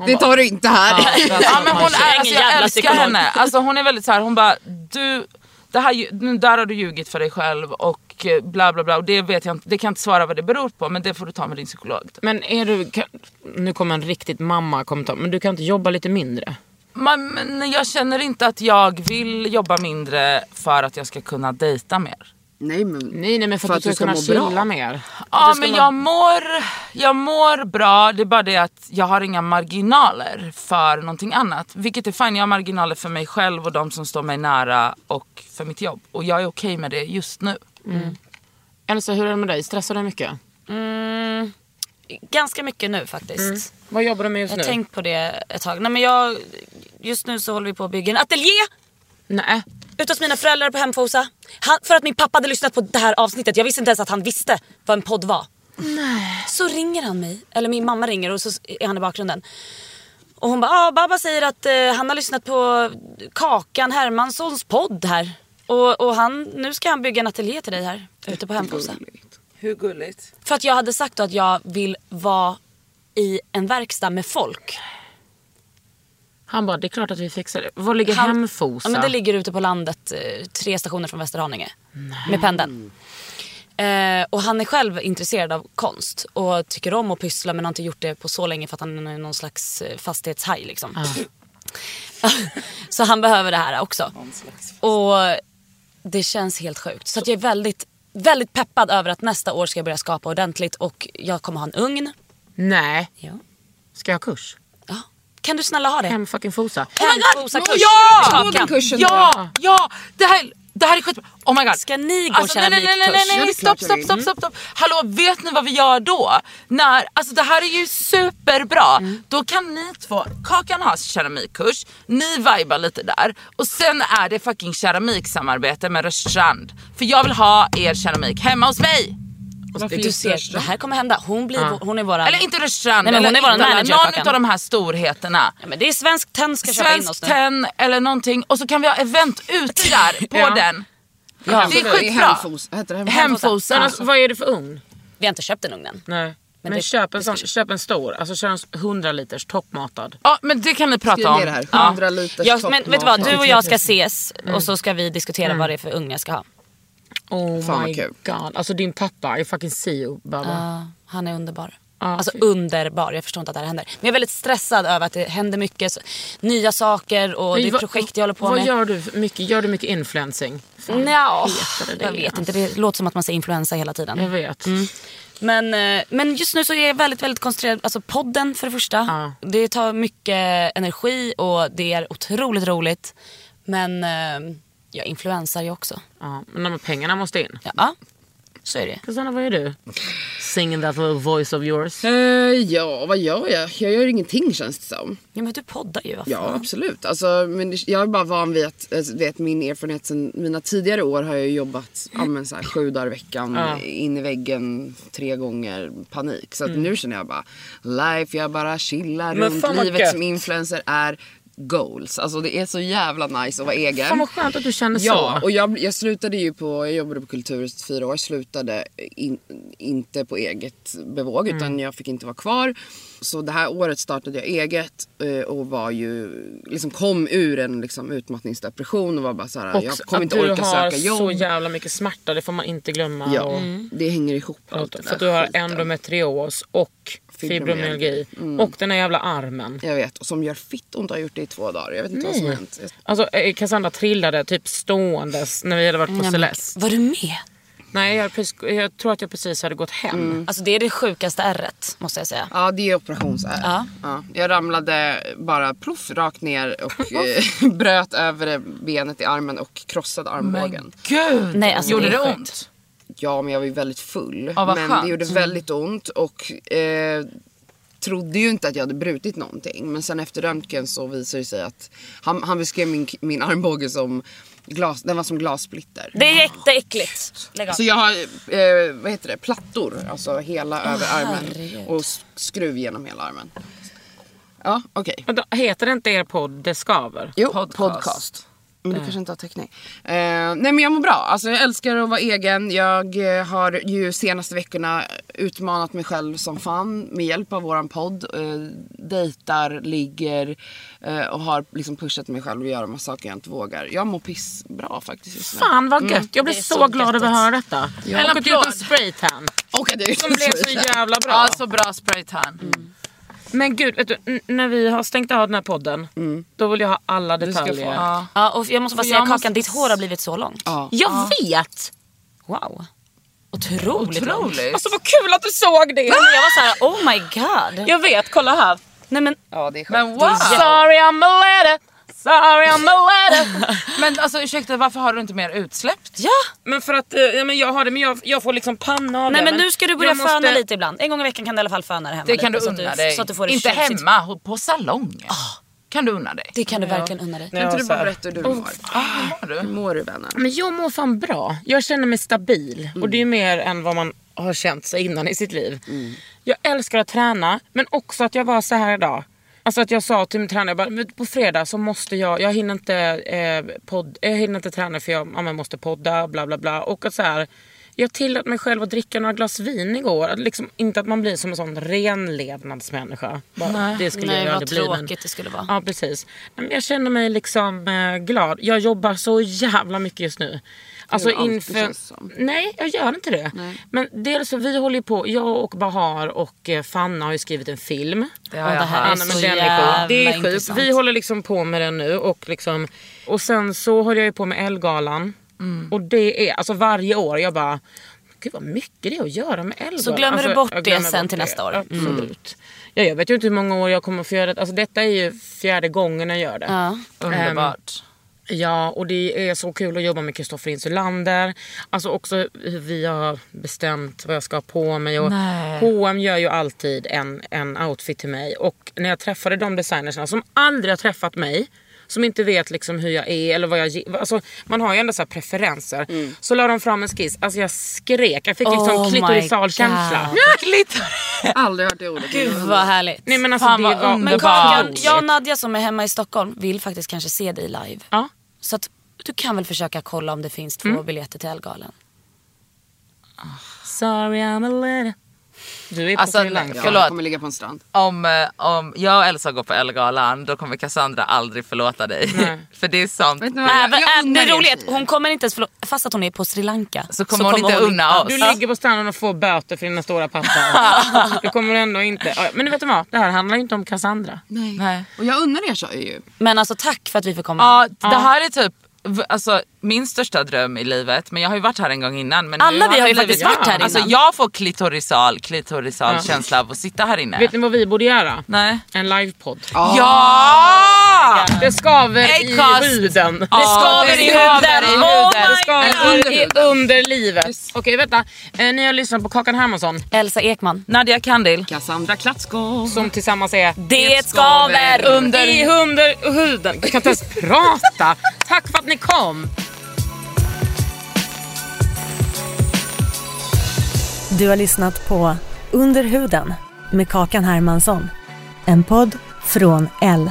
det tar du inte här. Ja, men hon är, Ingen alltså, jag jävla älskar psykolog. henne. Alltså, hon är väldigt så här, hon bara du, det här, ju- nu, där har du ljugit för dig själv och eh, bla bla bla. Och det vet jag inte, det kan jag inte svara vad det beror på men det får du ta med din psykolog. typ. Men är du... Kan, nu kommer en riktigt mamma-kommentar. Men du kan inte jobba lite mindre? Man, men jag känner inte att jag vill jobba mindre för att jag ska kunna dejta mer. Nej men Nej, nej men för, att, du ska, kunna må bra. chilla mer. Ja Du ska men må- jag mår, jag mår bra, det är bara det att jag har inga marginaler för någonting annat. Vilket är fint, jag har marginaler för mig själv och de som står mig nära och för mitt jobb. Och jag är okej med det just nu. Elsa, hur är det med dig? Stressar du mycket? Mm, ganska mycket nu faktiskt. Vad jobbar du med just Jag nu? har tänkt på det ett tag. Nej, men jag, just nu så håller vi på att bygga en ateljé Nej. ute hos mina föräldrar på Hemfosa. Han, för att min pappa hade lyssnat på det här avsnittet. Jag visste inte ens att han visste vad en podd var. Nej. Så ringer han mig, eller min mamma ringer och så är han i bakgrunden. Och hon bara, ah, Baba säger att eh, han har lyssnat på Kakan Hermanssons podd här. Och, och han, nu ska han bygga en ateljé till dig här ute på Hemfosa. Hur gulligt? För att jag hade sagt då att jag vill vara i en verkstad med folk. Han bara, det är klart att vi fixar det. Var ligger Han- Hemfosa? Ja, men det ligger ute på landet, eh, tre stationer från Västerhaninge. Med pendeln. Eh, och han är själv intresserad av konst och tycker om att pyssla men har inte gjort det på så länge för att han är någon slags eh, fastighetshaj liksom. Ah. så han behöver det här också. Och det känns helt sjukt. Så att jag är väldigt, väldigt peppad över att nästa år ska jag börja skapa ordentligt och jag kommer ha en ugn. Nej. Ja. Ska jag ha kurs? ja. Kan du snälla ha det? Hem fucking Fosa. Oh Hemfosa-kurs. Ja! Kakan. kursen Ja! Ja! Det här, det här är skitbra. Oh my god. Ska ni gå Alltså, nej, nej, nej, nej, keramikkurs? nej, nej, stopp, stopp, stopp, Mm. stopp, stopp. Hallå, vet ni vad vi gör då? När, alltså det här är ju superbra. Mm. Då kan ni två, Kakan har keramikkurs, ni vibar lite där och sen är det fucking keramiksamarbete med Rörstrand. För jag vill ha er keramik hemma hos mig. typ Du alltså, ser, det här kommer hända. Hon, blir, vår- hon är våran... Eller inte Rörstrand, Nej, men eller hon är våran Idola, manager, någon Kakan. utav de här storheterna. Ja, men det är Svensk Tenn ska köpa in Svensk oss nu. Tenn eller någonting och så kan vi ha event ute där på den. det är absolut. skitbra. Hemfos- heter det hemfosa? Hemfosa. Men alltså, vad är det för ugn? Vi har inte köpt den ugnen. Nej. Men, det- köp, en sån, köp en stor, alltså kör en s- 100 liters toppmatad. Ja men det kan ni prata Skriv om. ner det här, 100 liters Ja, men vet du vad, toppmat. du och jag ska ses Mm. och så ska vi diskutera vad det är för ugn jag ska ha. Oh Fan, my vad kul. god. Alltså din pappa är fucking CEO baba. Ja, han är underbar. Ja, alltså fy. underbar, jag förstår inte att det här händer. Men jag är väldigt stressad över att det händer mycket så, nya saker och det är vad- projekt jag håller på vad med. gör du? för Mycket, gör du mycket influencing? Fan, Nja, heter det jag det? vet inte, det låter som att man säger influensa hela tiden. Jag vet. Mm. Men, eh, men just nu så är jag väldigt, väldigt koncentrerad. Alltså podden för det första. Ja. Det tar mycket energi och det är otroligt roligt. Men eh, jag influensar ju också. Ja, men de här pengarna måste in. Ja, så är det. Susanna, vad gör du? Singing that little voice of yours. Eh, ja, vad gör jag? Jag gör ingenting känns det som. Ja, men du poddar ju. vad Ja, fan. absolut. Alltså, men det- jag är bara van vid att alltså, vet, min erfarenhet sen mina tidigare år har jag ju jobbat ja, men, så här, sju dagar i veckan, in i väggen tre gånger, panik. Så att nu känner jag bara life, jag bara chillar Mm. Men fan runt. vad Livet gött. som influencer är goals. Alltså det är så jävla nice att vara egen. Fan vad skönt att du känner Ja, så. och jag, jag slutade ju på, jag jobbade på Kulturhuset i fyra år, slutade in, inte på eget bevåg Mm. utan jag fick inte vara kvar. Så det här året startade jag eget eh, och var ju, liksom kom ur en liksom, utmattningsdepression och var bara så här, jag Också kommer inte att du orka har söka jobb. så jävla mycket smärta, det får man inte glömma. Ja, Och... det hänger ihop allt det För att där du har skiten. endometrios och fibromyalgi. Fibromyalgi. Mm. Och den här jävla armen. Jag vet, och som gör fitt ont och har gjort det i två dagar. Jag vet inte vad som har hänt. Jag- Alltså eh, Cassandra trillade typ ståendes när vi hade varit på Celeste. Var du med? Nej, jag, precis, jag tror att jag precis hade gått hem. Mm. Alltså det är det sjukaste ärret måste jag säga. Ja, det är operationsärr. Ja. ja. Jag ramlade bara proff rakt ner och eh, bröt över benet i armen och krossade armbågen. Gud! Nej, alltså, Gjorde det, det är sjukt. ont? Ja, men jag var ju väldigt full. Ja, vad men skönt. det gjorde väldigt ont och eh, trodde ju inte att jag hade brutit någonting. Men sen efter röntgen så visade det sig att han, han beskrev min, min armbåge som glas, den var som glassplitter. Det är jätteäckligt. Lägg av. Så jag har eh, vad heter det? plattor, alltså hela över armen och s- skruv genom hela armen. Ja, okej. Men då Heter det inte er podd Det skaver? Jo, podcast. Men du kanske inte har täckning. Eh, nej men jag mår bra. Alltså, jag älskar att vara egen. Jag eh, har ju senaste veckorna utmanat mig själv som fan med hjälp av våran podd. Eh, dejtar, ligger eh, och har liksom pushat mig själv att göra massa saker jag inte vågar. Jag mår pissbra faktiskt just nu. Fan vad gött, jag blir Det är så, så glad gött. över att höra detta. Ja. Jag har gått ut en Applåd. spraytan Okej, det är som blev så jävla bra. Ja, så bra spraytan. Men gud, vet du, n- när vi har stängt av den här podden, då vill jag ha alla Mm. ska detaljer. få. Ja. Ja, och jag måste bara För säga jag Kakan, måste- ditt hår har blivit så långt. Ja. Jag vet! Wow. Otroligt långt. Otroligt. Alltså vad kul att du såg det! Nej, men jag var såhär, oh my god. Jag vet, kolla här. Nej, men, Ja, det är skönt. Men wow! Sorry I'm a letter, sorry I'm a letter. Men alltså ursäkta, varför har du inte mer utsläppt? ja. men för att, eh, ja, men jag har det, men jag, jag får liksom panna av Nej det, men nu ska du börja jag måste- föna lite ibland. En gång i veckan kan du i alla fall föna det hemma Det kan lite, du så att unna dig. Så att du får Ah. det inte tjusigt. hemma, ho- på salong. Kan du unna dig? Det kan du verkligen unna dig. Kan inte Ja, du så bara här. berätta hur du mår? Har du? Hur mår du vännen? Men jag mår fan bra. Jag känner mig stabil. Och Mm. det är mer än vad man har känt sig innan i sitt liv. Mm. Jag älskar att träna, men också att jag var så här idag. Alltså att jag sa till min tränare, jag bara, "Men på fredag så måste jag, jag hinner inte, eh, podd, jag hinner inte träna för jag, ja, men måste podda, bla bla bla. Och att så här, jag tillät mig själv att dricka några glas vin igår. Att Liksom, inte att man blir som en sån renlevnadsmänniska. Bara, det skulle Nej, jag ju vad aldrig bli. men- tråkigt det skulle vara. Ja precis. Nej, men Jag känner mig liksom eh, glad. Jag jobbar så jävla mycket just nu. Alltså gör du alltid, inför... känns det som. Nej jag gör inte det. Men dels så vi håller ju på, jag och Bahar och eh, Fanna har ju skrivit en film. Det har Ja, jag det här hört. är Anna, men så den är jävla cool. Det är sjukt. intressant. Vi håller liksom på med den nu och liksom... Och sen så håller jag ju på med Elgalan. Mm. Och det är, alltså varje år jag bara... Gud vad mycket det är att göra med Elgalan. Så glömmer alltså, du bort jag det glömmer sen bort till nästa år. Absolut. Ja, jag vet ju inte hur många år jag kommer få göra det. Alltså detta är ju fjärde gången jag gör det. Ehm, Ja. Underbart. Ja, och det är så kul att jobba med Kristoffer Insulander. Alltså också hur vi har bestämt vad jag ska ha på mig. Och Nej. H&M gör ju alltid en, en outfit till mig. Och när jag träffade de designerserna som aldrig har träffat mig, som inte vet liksom hur jag är eller vad jag ge- alltså, Man har ju ändå så här preferenser. Så la de fram en skiss, alltså jag skrek. Jag fick liksom Mm. Oh my klitorital känsla. God. Aldrig hört det ordet. Gud vad härligt. Nej men alltså Fan, det vad var... Men underbart. Kakan, Otroligt. jag och Nadja som är hemma i Stockholm vill faktiskt kanske se dig live. Ja. Så att du kan väl försöka kolla om det finns två Mm. biljetter till Elgalan. Sorry I'm a little... Du är på Alltså, Sri Lanka. Ja, Förlåt. jag kommer ligga på en strand. Om, eh, om jag och Elsa går på Ellegalan då kommer Cassandra aldrig förlåta dig. För det är sant. Vet ni vad? Jag- Även, jag även, det unnar er är roligt, tjejer. hon kommer inte ens förlåt, fast att hon är på Sri Lanka. Så kommer hon inte unna oss. Du ligger på stranden och får böter för dina stora pappar. du kommer ändå inte... Ja, Men du vet du vad, det här handlar ju inte om Cassandra. Nej. Nej. Och jag unnar er tjejer ju. Men alltså tack för att vi fick komma. Ja, det här är typ v- alltså, min största dröm i livet. Men jag har ju varit här en gång innan. Men nu Alla vi det har ju blivit- faktiskt varit här Alltså innan. jag får klitorisal, klitorisal känsla av att sitta här inne. Vet ni vad vi borde göra? Nej. En livepodd. Ja! Det skaver i Acast. huden. Det skaver i huden. Oh my Det skaver God. i underlivet. Okej, vänta. Eh, Ni har lyssnat på Kakan Hermansson Elsa Ekman. Nadia Kandil. Cassandra Klatskov. som tillsammans är Det skaver! under... i under huden. Jag kan inte ens prata. Tack för att ni kom. Du har lyssnat på Under huden med Kakan Hermansson. En podd från L.